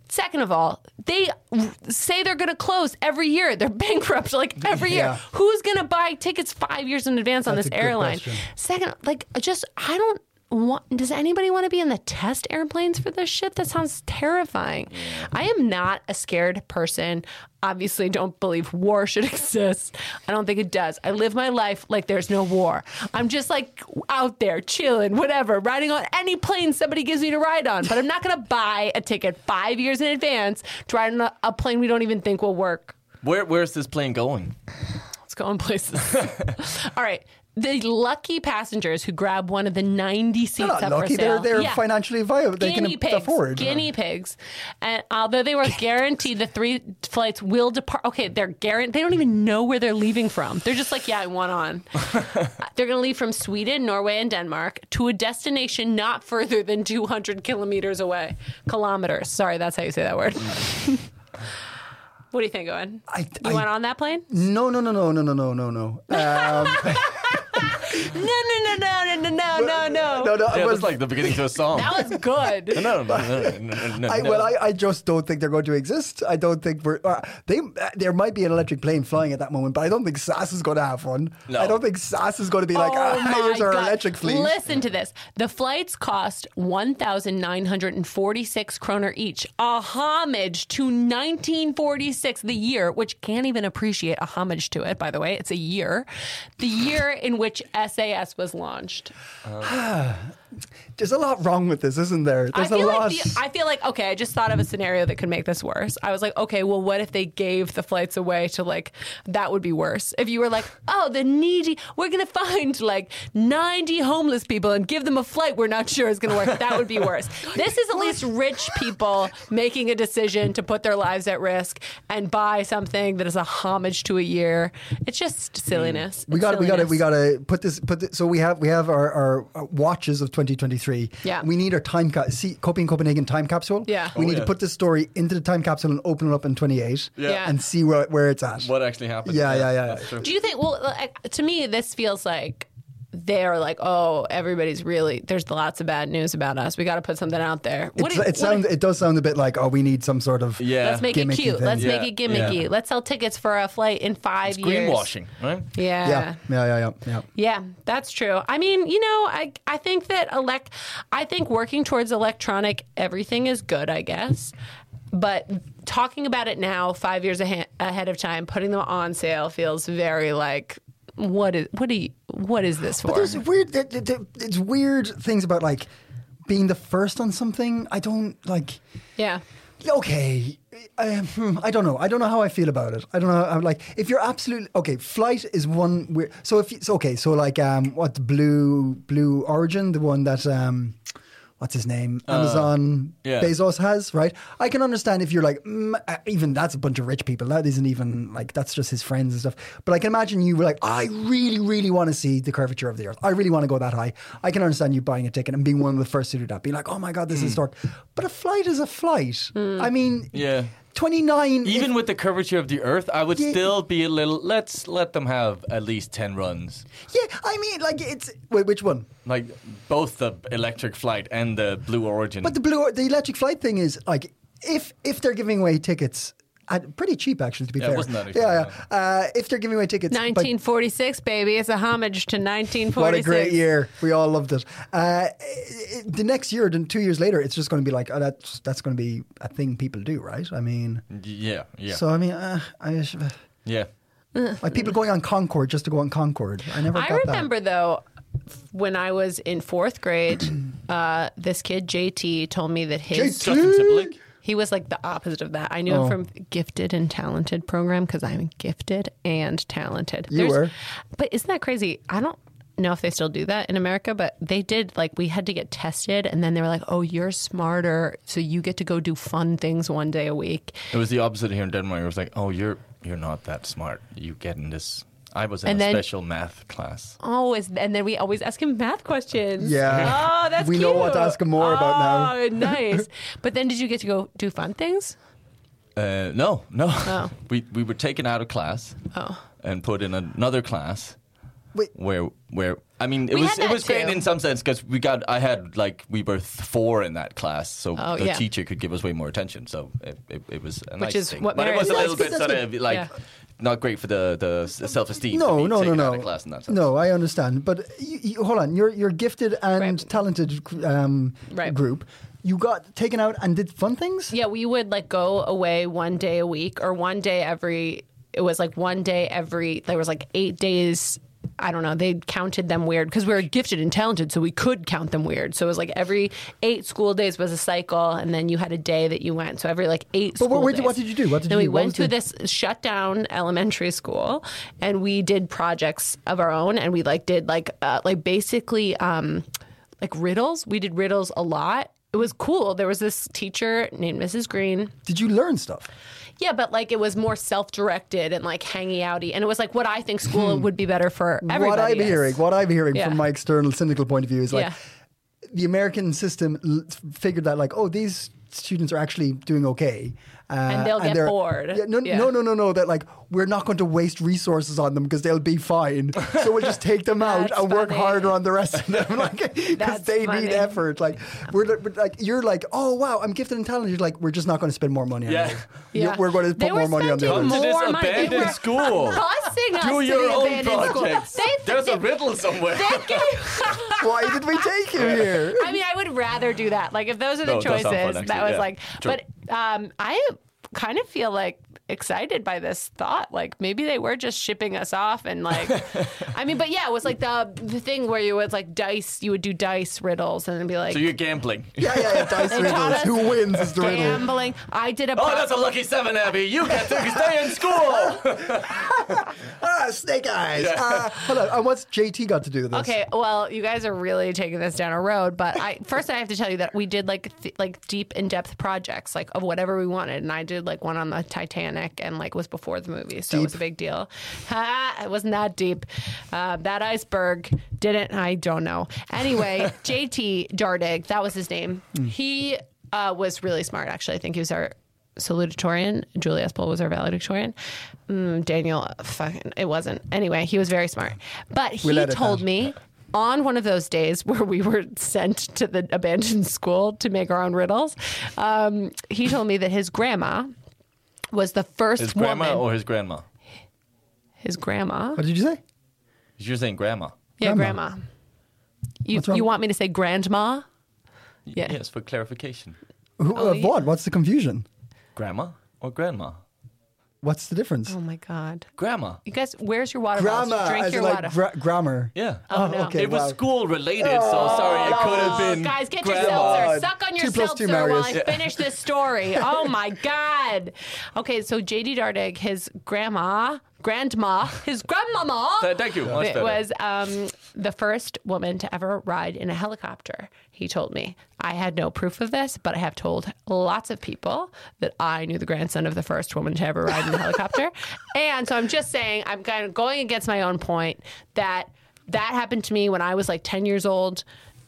Second of all, they r- say they're going to close every year. They're bankrupt like every year. Yeah. Who's going to buy tickets five years in advance on That's this a good airline? question. Second, like, just, I don't. Want, does anybody want to be in the test airplanes for this shit? That sounds terrifying. I am not a scared person. Obviously, don't believe war should exist. I don't think it does. I live my life like there's no war. I'm just like out there chilling, whatever, riding on any plane somebody gives me to ride on. But I'm not going to buy a ticket five years in advance to ride on a, a plane we don't even think will work. Where where's this plane going? It's going places. All right. The lucky passengers who grab one of the 90 seats They're not up lucky. for sale. They're, they're Yeah. financially viable. They guinea can pigs, afford. guinea pigs, and although they were guaranteed the three flights will depart, okay, they're guaranteed. They don't even know where they're leaving from. They're just like, yeah, I want on. they're going to leave from Sweden, Norway, and Denmark to a destination not further than 200 kilometers away. Kilometers. Sorry, that's how you say that word. what do you think, Owen? I- you I- went on that plane? No, no, no, no, no, no, no, no, no. Um, No, no, no, no, no, no, no, no, no, no. no. Yeah, well, that's like the beginning to a song. That was good. no, no, no, no, no, no, no. I, well, I, I just don't think they're going to exist. I don't think we're uh, they. Uh, there might be an electric plane flying at that moment, but I don't think SAS is going to have one. No. I don't think SAS is going to be like, Oh ah, here's my our God. electric fleet. Listen to this. The flights cost 1,946 kroner each, a homage to 1946, the year, which can't even appreciate a homage to it, by the way. It's a year. The year in which SAS was launched. There's a lot wrong with this, isn't there? There's I a feel lot. Like the, I feel like okay. I just thought of a scenario that could make this worse. I was like, okay, well, what if they gave the flights away to like that would be worse. If you were like, oh, the needy, we're gonna find like ninety homeless people and give them a flight we're not sure is gonna work. That would be worse. This is at least rich people making a decision to put their lives at risk and buy something that is a homage to a year. It's just silliness. we got, we got to, we got to put this, put this. So we have, we have our, our uh, watches of 2023. Yeah. We need our time cap, see, Coping Copenhagen time capsule. Yeah. We Oh, need yeah. to put this story into the time capsule and open it up in 28. Yeah. And see where, where it's at. what actually happened? Yeah, yeah, yeah. That's true. Do you think? Well, like, to me, this feels like they're like, oh, everybody's really there's lots of bad news about us. We got to put something out there. What It's, do you- it what do you- sounds. It does sound a bit like oh, we need some sort of Yeah. Let's make it gimmicky cute. thing. Let's Yeah, make it gimmicky. yeah. Let's sell tickets for a flight in five years. greenwashing, right? Yeah. Yeah, yeah. yeah, yeah, yeah. yeah. that's true. I mean, you know, I I think that elect I think working towards electronic everything is good, I guess. But talking about it now, five years ahe- ahead of time, putting them on sale feels very like what is what do you, what is this for? But there's weird. There, there- there- it's weird things about like being the first on something. I don't like. yeah. Okay, I, hmm, I don't know. I don't know how I feel about it. I don't know. I'm like, if you're absolutely okay, flight is one weird. So if you, so, okay, so like um, what the blue blue origin, the one that um, what's his name, Amazon yeah. Bezos has, right? I can understand if you're like, mm, uh, even that's a bunch of rich people. That isn't even like that's just his friends and stuff. But I can imagine you were like, I really, really want to see the curvature of the Earth. I really want to go that high. I can understand you buying a ticket and being one of the first to do that. Being like, oh my god, this is Mm. dark. But a flight is a flight. I mean, Yeah. twenty nine. Even with the curvature of the Earth, I would Yeah. still be a little. Let's let them have at least ten runs, yeah, I mean, like it's wait, which one? like both the electric flight and the Blue Origin. But the blue, or- the electric flight thing is like if if they're giving away tickets. At pretty cheap, actually. To be Yeah, it fair, wasn't that yeah. expensive, yeah. Uh, if they're giving away tickets, by- 1946, baby. It's a homage to 1946. What a great year! We all loved it. Uh, it- it- the next year, then two years later, it's just going to be like oh, that's that's going to be a thing people do, right? I mean, yeah, yeah, so I mean, uh, I sh- yeah. like people going on Concord just to go on Concord. I never. I got that. remember though, when I was in fourth grade, uh, this kid JT told me that his JT? Justin Timberlake. he was like the opposite of that. I Oh. knew him from gifted and talented program because I'm gifted and talented. You were. but isn't that crazy? I don't know if they still do that in America, but they did. Like we had to get tested, and then they were like, "Oh, you're smarter, so you get to go do fun things one day a week." It was the opposite here in Denmark. It was like, oh, you're you're not that smart. You get in this. I was in And a then- special math class. Oh, is, and then we always ask him math questions. Yeah. Oh, that's We know what to cute. ask him more about now. Oh, nice. But then did you get to go do fun things? Uh, no, no. Oh. We we were taken out of class and put in another class Wait. where where I mean it We was had it that was great too. in some sense because we got I had like we were th- four in that class so Oh, the yeah. teacher could give us way more attention so it, it, it was a nice is thing. what but it marriage was a is. little That's good, bit sort that's of like Yeah. not great for the the self esteem. No, no, no, Out no. of class in that sense. No, I understand. But you, you, hold on, you're you're gifted and Right. talented um, Right. group. You got taken out and did fun things. Yeah, we would like go away one day a week or one day every. It was like one day every. There was like eight days. I don't know. They counted them weird because we were gifted and talented, so we could count them weird. So it was like every eight school days was a cycle, and then you had a day that you went. So every like eight. But what- school what did- days. what did you do? What did then you we do? What was went to the- this shut down elementary school, and we did projects of our own, and we like did like uh, like basically. um like riddles. We did riddles a lot. It was cool. There was this teacher named Mrs. Green. Did you learn stuff? Yeah, but like it was more self-directed and like hangy outy, and it was like what I think school would be better for everybody. Hmm. what I'm is. hearing, what I'm hearing Yeah. from my external cynical point of view is like Yeah. the American system l- figured that like, oh, these students are actually doing okay, uh, and they'll get they're- bored. Yeah, no, Yeah. no, no, no, no. That like we're not going to waste resources on them because they'll be fine. So we'll just take them out That's and work funny. harder on the rest of them, like because That's they need funny. effort. Like we're, li- we're like you're like, oh wow, I'm gifted and talented. You're like, we're just not going to spend more money on Yeah. you. You're- Yeah. We're going to put They were more money on the spending others. Come to this More money. They abandoned were school. Busing us Do to your the own abandoned school. projects. They- There's a riddle somewhere. Why did we take you here? I mean, I would rather do that. Like if those are the No, it does choices, sound fun, that actually. was Yeah. like. True. But um, I kind of feel like excited by this thought. Like maybe they were just shipping us off, and like, I mean, but yeah, it was like the the thing where you was like dice. You would do dice riddles, and it'd be like. so you're gambling. Yeah, yeah, yeah. Dice They taught riddles. us Who wins is the riddle. Gambling. I did a. Oh, pro- that's a lucky seven, Abby. You get to stay in school. Ah, snake eyes. Uh, hold on. And what's JT got to do with this? Okay, well, you guys are really taking this down a road, but I first I have to tell you that we did like th- like deep in depth projects like of whatever we wanted, and I did like one on the Titanic and like was before the movie, so it was a big deal. Ha, it wasn't that deep. Uh, that iceberg didn't. I don't know. Anyway, JT Dardig, that was his name. He uh, was really smart. Actually, I think he was our salutatorian. Julie Espel was our valedictorian. Mm, Daniel, fucking, it wasn't. Anyway, he was very smart. But he let it told down. me on one of those days where we were sent to the abandoned school to make our own riddles, um, he told me that his grandma was the first His woman. grandma or his grandma? his grandma. What did you say? You're saying grandma. Yeah, Grandma. grandma. You, What's wrong? you want me to say grandma? Yeah. Yes, for clarification. Who, Oh, uh, yeah. What? What's the confusion? Grandma or grandma? What's the difference? Oh my god. Grandma. You guys, where's your water bottles? Grammar, Drink as your in like water. gra- grammar. Yeah. Oh, no. okay. it was wow. school related, so sorry, it could have Oh, been. guys, get your grandma. seltzer. Suck on your Two plus two, seltzer while I Marius. finish this story. Oh my god. Okay, so JD Dardig, his grandma, grandma, his grandmama. Th- thank you. Much it better. was um, the first woman to ever ride in a helicopter. He told me. I had no proof of this, but I have told lots of people that I knew the grandson of the first woman to ever ride in a helicopter. And so I'm just saying, I'm kind of going against my own point that that happened to me when I was like 10 years old.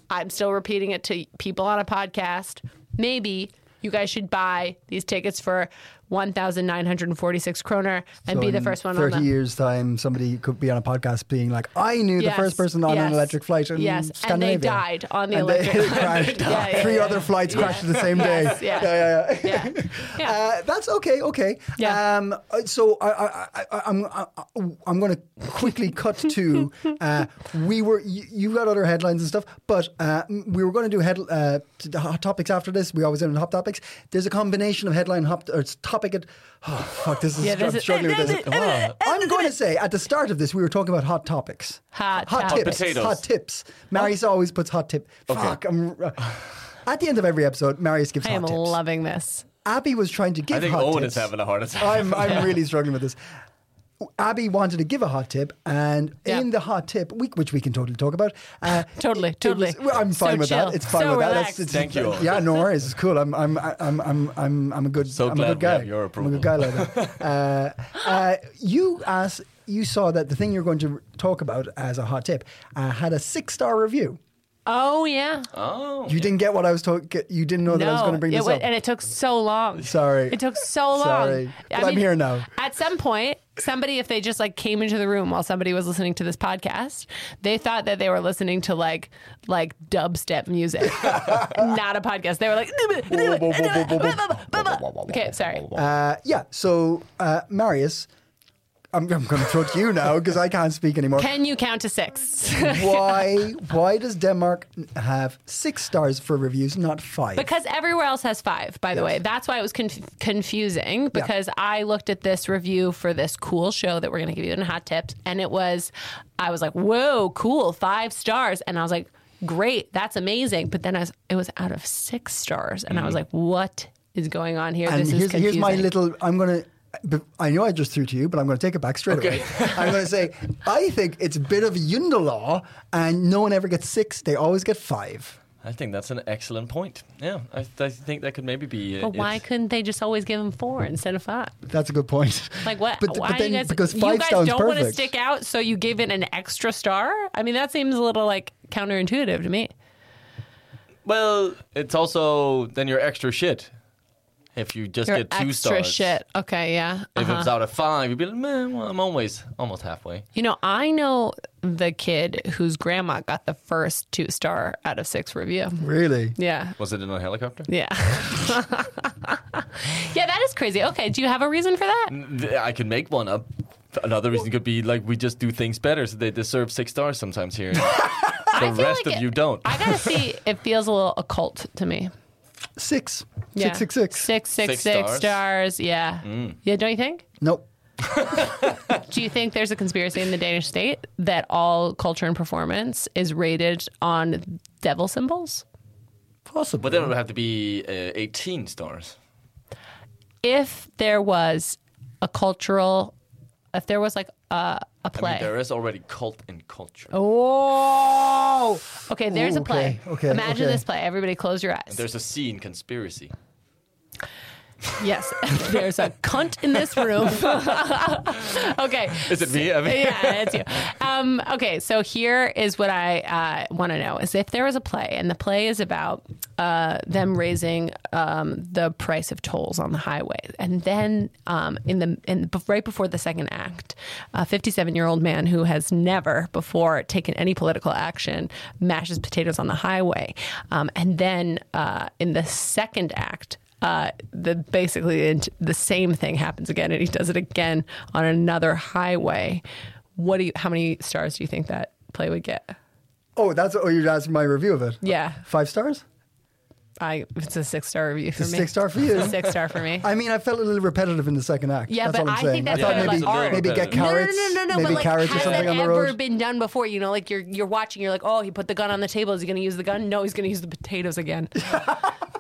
I'm still repeating it to people on a podcast. Maybe you guys should buy these tickets for 1,946 kroner and So be the in first one on Thirty the years time, somebody could be on a podcast being like, "I knew Yes, the first person on yes, an electric flight in yes, and they Scandinavia." died on the And they electric- crashed. Yeah, yeah, Three yeah. other flights crashed the same day. Yes, yeah. yeah, yeah. yeah. yeah. yeah. Uh, that's okay. Okay. Yeah. Um, uh, so I, I, I- I, I'm I, I- I'm going to quickly cut to. Uh, we were you, you got other headlines and stuff, but uh, m- we were going to do head uh, t- the hot topics after this. We always end on hot topics. There's a combination of headline hop or it's topic. At, oh, fuck, this is Yeah, yeah, this is- struggling with this. I'm going to say at the start of this we were talking about hot topics, Hot topics. tips, Hot potatoes. hot tips. Marius always puts hot tip. Fuck. I'm, uh, at the end of every episode, Marius gives I hot am tips. loving this. Abby was trying to give I think hot Owen tips. is having a heart attack. I'm, I'm really struggling with this. Abby wanted to give a hot tip, and Yeah. in the hot tip, we, which we can totally talk about. Uh, Totally, it totally. was- well, I'm So fine with that. chill, It's fine so with relaxed. that. That's, it's, Thank you. Yeah, no worries. It's cool. I'm, I'm, I'm, I'm, I'm, I'm a good. So I'm glad a good we guy. have your I'm a good guy like that. Uh, uh, you asked, you saw that the thing you're going to talk about as a hot tip uh, had a six star review. Oh yeah. oh. You didn't get what I was talking. You didn't know that I was going to bring it this wa- up. and it took so long. Sorry. it took so long. Sorry. I But I'm mean, here now. At some point, somebody, if they just like came into the room while somebody was listening to this podcast, they thought that they were listening to like like dubstep music, not a podcast. They were like, okay, sorry. Uh, yeah. So, uh, Marius, I'm, I'm going to throw it to you now because I can't speak anymore. Can you count to six? why? Why does Denmark have six stars for reviews, not five? Because everywhere else has five, by the way. That's why it was conf- confusing because I looked at this review for this cool show that we're going to give you in Hot Tips, and it was, I was like, whoa, cool, five stars. And I was like, great, that's amazing. But then I was, it was out of six stars, and I was like, what is going on here? Mm-hmm. and this here's, is here's confusing. my little. I'm going to. I know I just threw to you, but I'm going to take it back straight away. I'm going to say I think it's a bit of Yundalaw, and no one ever gets six; they always get five. I think that's an excellent point. Yeah, I, I think that could maybe be. Uh, But why it. couldn't they just always give them four instead of five? That's a good point. Like what? But, why but then you guys, because you five guys sounds don't want to perfect. stick out, so you give it an extra star? I mean, that seems a little like counterintuitive to me. Well, it's also then you're extra shit. If you just You're get two extra stars, shit. Okay, yeah. If Uh-huh. it's out of five, you'd be like, man, well, I'm always almost halfway. You know, I know the kid whose grandma got the first two star out of six review. Really? Yeah. Was it in a helicopter? Yeah. yeah, that is crazy. Okay, do you have a reason for that? Th- I could make one up. Another reason could be like we just do things better, so they deserve six stars sometimes here. the feel rest like of it- you don't. I gotta see. It feels a little occult to me. Six. Yeah. Six, six, six. Six, six, Six six stars. Mm. stars. Yeah. Yeah, don't you think? Nope. Do you think there's a conspiracy in the Danish state that all culture and performance is rated on devil symbols? Possibly. but then it would have to be uh, 18 stars. if there was a cultural, if there was like a, a I play. mean, there is already cult in culture. oh, okay. There's Ooh, a play. okay, okay, Imagine okay. this play. Everybody, close your eyes. There's a C in conspiracy. Yes, there's a cunt in this room. okay. Is it me? I mean- yeah, it's you. Um, okay, so here is what I uh, want to know: is if there was a play, and the play is about uh, them raising um, the price of tolls on the highway, and then um, in the in, bef- right before the second act, a 57-year-old man who has never before taken any political action mashes potatoes on the highway, um, and then uh, in the second act uh, the basically it- the same thing happens again, and he does it again on another highway. What do you? How many stars do you think that play would get? Oh, that's oh, you asked my review of it. Yeah. five stars. I it's a six star review for It's a me. six-star for you. It's a six star for me. I mean, I felt a little repetitive in the second act. Yeah, that's but all I'm I saying. think that's I thought kind of maybe like maybe get art. no, no, carrots, no, no, no, maybe but like, carrots or has something that on the ever road. been done before? You know, like you're you're watching, you're like, oh, he put the gun on the table. Is he going to use the gun? No, he's going to use the potatoes again.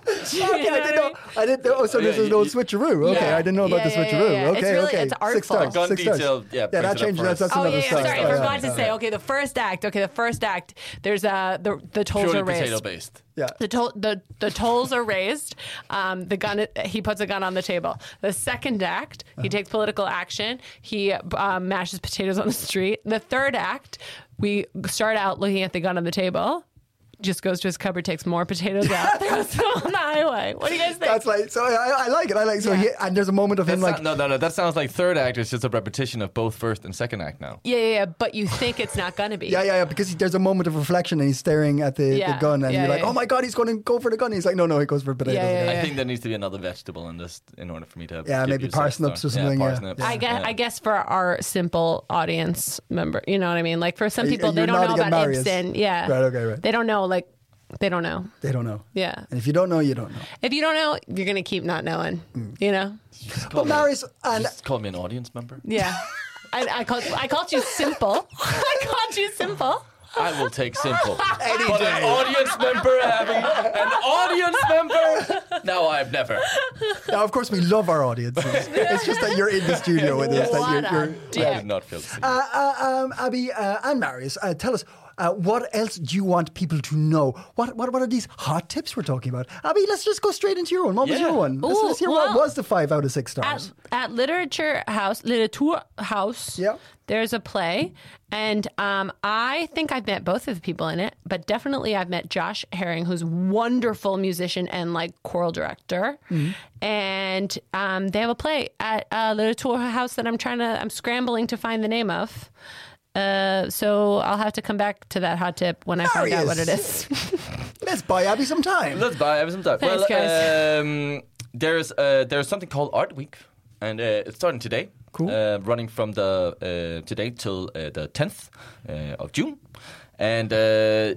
Okay, I didn't know. I didn't know. Oh, so Yeah, this is you- no you- switcheroo. Okay, Yeah. I didn't know about the Yeah, yeah, yeah, switcheroo. yeah. It's Okay, really- okay. it's six artful. stars. Gun six stars. detail, yeah, brings that it up changes. for That's, us. that's Oh another yeah, yeah. star. sorry, Yeah, I forgot yeah, to say. Okay, the first act. Okay, the first act. There's uh the the tolls Purely are raised. potato based. Yeah. The, toll the the tolls are raised. Um, the gun he puts a gun on the table. The second act, Uh-huh. he takes political action. He um, mashes potatoes on the street. The third act, we start out looking at the gun on the table. Just goes to his cupboard, takes more potatoes out, throws them on the highway. What do you guys think? That's like so. I, I like it. I like so. Yeah. He, and there's a moment of That him like sound- no, no, no. That sounds like third act is just a repetition of both first and second act now. yeah, yeah, yeah. But you think it's not gonna be. Yeah, yeah, yeah. Because he- there's a moment of reflection and he's staring at the, Yeah, the gun and yeah, you're like, yeah. oh my God, he's going to go for the gun. He's like, no, no, he goes for potatoes. Yeah, yeah, again." yeah. I think there needs to be another vegetable in this in order for me to. Yeah, give maybe you a six parsnips star. or something, yeah. Yeah, parsnips. I guess, yeah. I guess for our simple audience member, you know what I mean? Like for some Y- people, you're they don't know nodding at about Marius. Ibsen. Yeah. Right, okay, right. They don't know, like, they don't know. They don't know. Yeah. And if you don't know, you don't know. If you don't know, you're going to keep not knowing, you know? Just But call me- Marius and just call me an audience member. Yeah. I, I, called, I called you simple. I called you simple. I will take simple. but an audience member having an audience member. No, I've never. now, of course, we love our audiences. it's just that you're in the studio with us. What That you're, a you're, I dick. did not feel. seen. uh, um, Abby uh, and Marius, uh, tell us. Uh, what else do you want people to know? What, what what are these hot tips we're talking about? Abby, let's just go straight into your one. What was Yeah. your one? let's, Ooh, let's hear what well- was the five out of six stars. at, at Literature House, Literature House, Yeah. there's a play. And um, I think I've met both of the people in it, but definitely I've met Josh Herring, who's wonderful musician and like choral director. And um, they have a play at uh, Literature House that I'm trying to, I'm scrambling to find the name of. Uh, so I'll have to come back to that hot tip when I find out what it is. let's buy Abby some time. Let's buy have some time. Thanks, well, guys. Um, there's uh, there's something called Art Week, and uh, it's starting today. Cool. Uh, running from the uh, today till uh, the 10th uh, of June, and. Uh,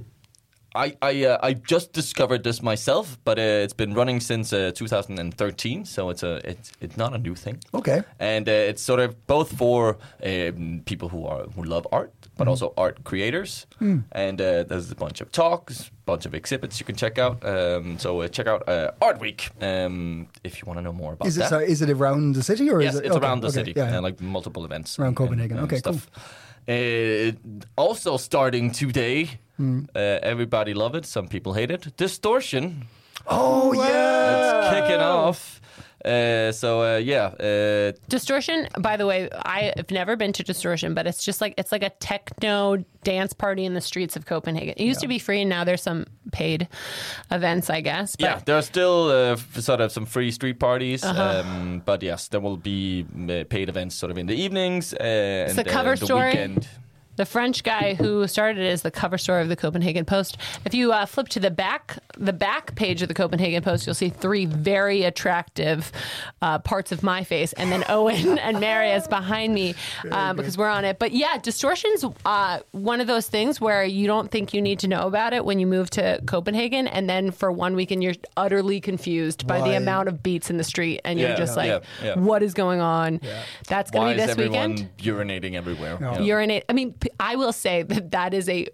I I, uh, I just discovered this myself, but uh, it's been running since uh, 2013, so it's a it's it's not a new thing. Okay. and uh, it's sort of both for um, people who are who love art, Mm. but also art creators. And uh, there's a bunch of talks, bunch of exhibits you can check out. Um, so uh, check out uh, Art Week um, if you want to know more about Is it that. sorry, is it around the city or Yes, is it it's okay, around the okay, city, yeah, yeah. and like multiple events Around and- Copenhagen. and Okay, stuff. Uh, also starting today, Mm. uh, everybody love it. Some people hate it. Distortion oh yeah, it's kicking off. Uh, so uh, yeah, uh, Distortion, by the way, I've never been to Distortion, but it's just like it's like a techno dance party in the streets of Copenhagen. It used to be free, and now there's some paid events, I guess. But Uh-huh. yeah, there are still uh, f- sort of some free street parties, um, but yes, there will be uh, paid events sort of in the evenings. Uh, and, the uh, cover the story. Weekend. the French guy who started it is the cover story of the Copenhagen Post. If you uh, flip to the back, the back page of the Copenhagen Post, you'll see three very attractive uh, parts of my face, and then Owen and Marius behind me uh, because we're on it. But yeah, distortions uh, one of those things where you don't think you need to know about it when you move to Copenhagen, and then for one weekend you're utterly confused by Why? the amount of beats in the street, and you're Yeah, just yeah, like, yeah. what is going on? That's going Why to be is this everyone weekend urinating everywhere? Yeah. urinate. I mean, p- I will say that that is a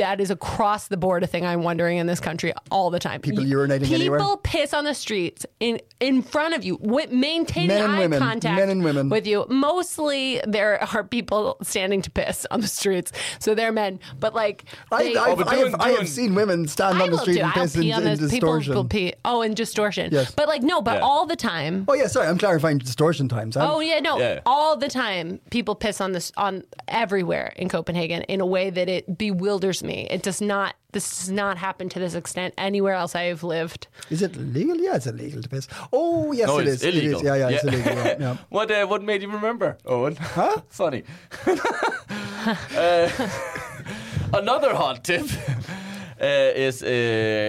that is across the board a thing I'm wondering in this country all the time. People urinating people anywhere? People piss on the streets in in front of you. Wi- maintain Men and eye women. contact. Men and women. with you. Mostly there are people standing to piss on the streets, so they're men. But like I, they- I, but I, have, doing- I have doing- seen women stand I on the will street do. and piss I'll in, pee on in this. distortion. People will pee. Oh, and distortion. Yes. But like no, but Yeah. all the time. Oh yeah, sorry, I'm clarifying distortion times. I'm- Oh yeah, no, Yeah. all the time people piss on this on everywhere in Copenhagen in a way that it bewilders me. It does not. This does not happen to this extent anywhere else I've lived. Is it legal? Yeah, it's illegal to piss. Oh yes, No, it it's is. It illegal. is. Yeah, yeah, it's Yeah. illegal. Yeah, yeah. What uh, what made you remember, Owen? Huh? Funny. Uh, another hot tip uh, is uh,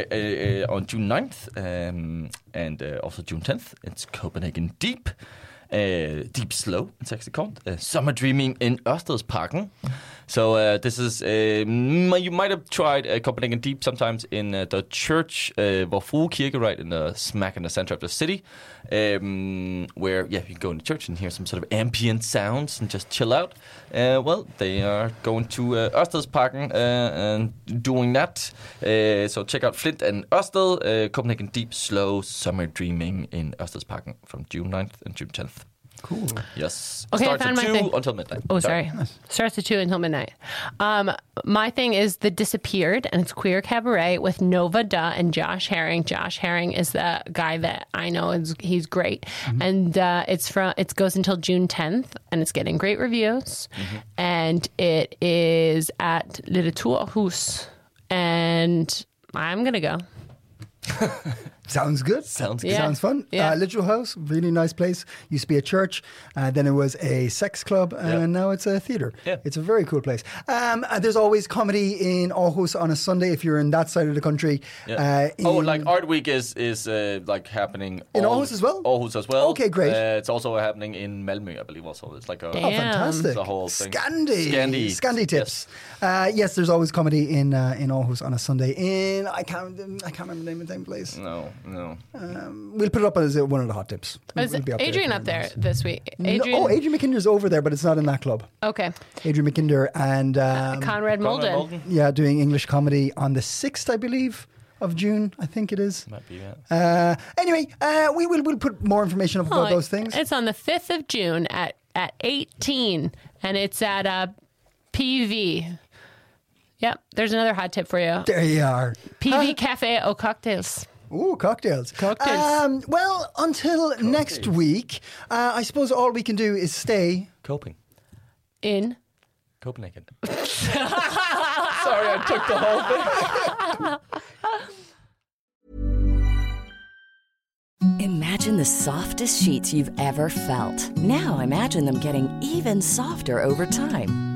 uh, uh, on June 9th um, and uh, also June 10th. It's Copenhagen Deep. Uh, deep Slow, it's actually called. Uh, Summer Dreaming in Ørstedsparken. So uh, this is, uh, m- you might have tried uh, Copenhagen Deep sometimes in uh, the church, uh, Vor Frue Kirke, right in the smack in the center of the city, um, where yeah, you can go into church and hear some sort of ambient sounds and just chill out. Uh, well, they are going to uh, Ørstedsparken uh, and doing that. Uh, so check out Flint and Ørsted, uh, Copenhagen Deep Slow Summer Dreaming in Ørstedsparken from June 9th and June 10th. Cool. Yes. Okay, I Starts found at my 2 thing. until midnight. Oh, sorry. Starts at two until midnight. Um, my thing is the disappeared, and it's queer cabaret with Nova Duh and Josh Herring. Josh Herring is the guy that I know is he's great, Mm-hmm. and uh, it's from it goes until June tenth, and it's getting great reviews, Mm-hmm. and it is at Le Tour Hus, and I'm gonna go. Sounds good. Sounds good. Yeah. Sounds fun. Yeah. Uh, Literal House, really nice place. Used to be a church, uh, then it was a sex club, and now it's a theater. Yeah. It's a very cool place. Um, and there's always comedy in Aarhus on a Sunday if you're in that side of the country. Yeah. Uh, oh, in- like Art Week is is uh, like happening In all- Aarhus as well? Aarhus as well. Okay, great. Oh, Uh, it's also happening in Malmö, I believe. Also, it's like a Damn. Fantastic. the whole thing. Scandi. Scandi. Scandi tips. Uh, yes, there's always comedy in uh, in Aarhus on a Sunday. In I can't I can't remember the name of the damn place. No, no. We'll put it up as uh, one of the hot tips. Oh, Is We'll be up there Adrian if up there anyone this week? knows. No- Adrian. oh, Adrian Um, McKinder's over there, but it's not in that club. Okay. Adrian McKinder and Uh, um, Conrad Molden. Conrad Molden? yeah, doing English comedy on the sixth, I believe, of June. I think it is. Might be that. Uh, anyway, uh, we will we'll put more information up about Oh, those things. It's on the 5th of June at, at 18, and it's at uh, PV. Yep, there's another hot tip for you. There you are. PV Cafe au Cocktails. Ooh, cocktails. Cocktails. Um, well, until next week, uh, I suppose all we can do is stay. Coping. In. Copenhagen. Sorry, I took the whole thing. Imagine the softest sheets you've ever felt. Now imagine them getting even softer over time.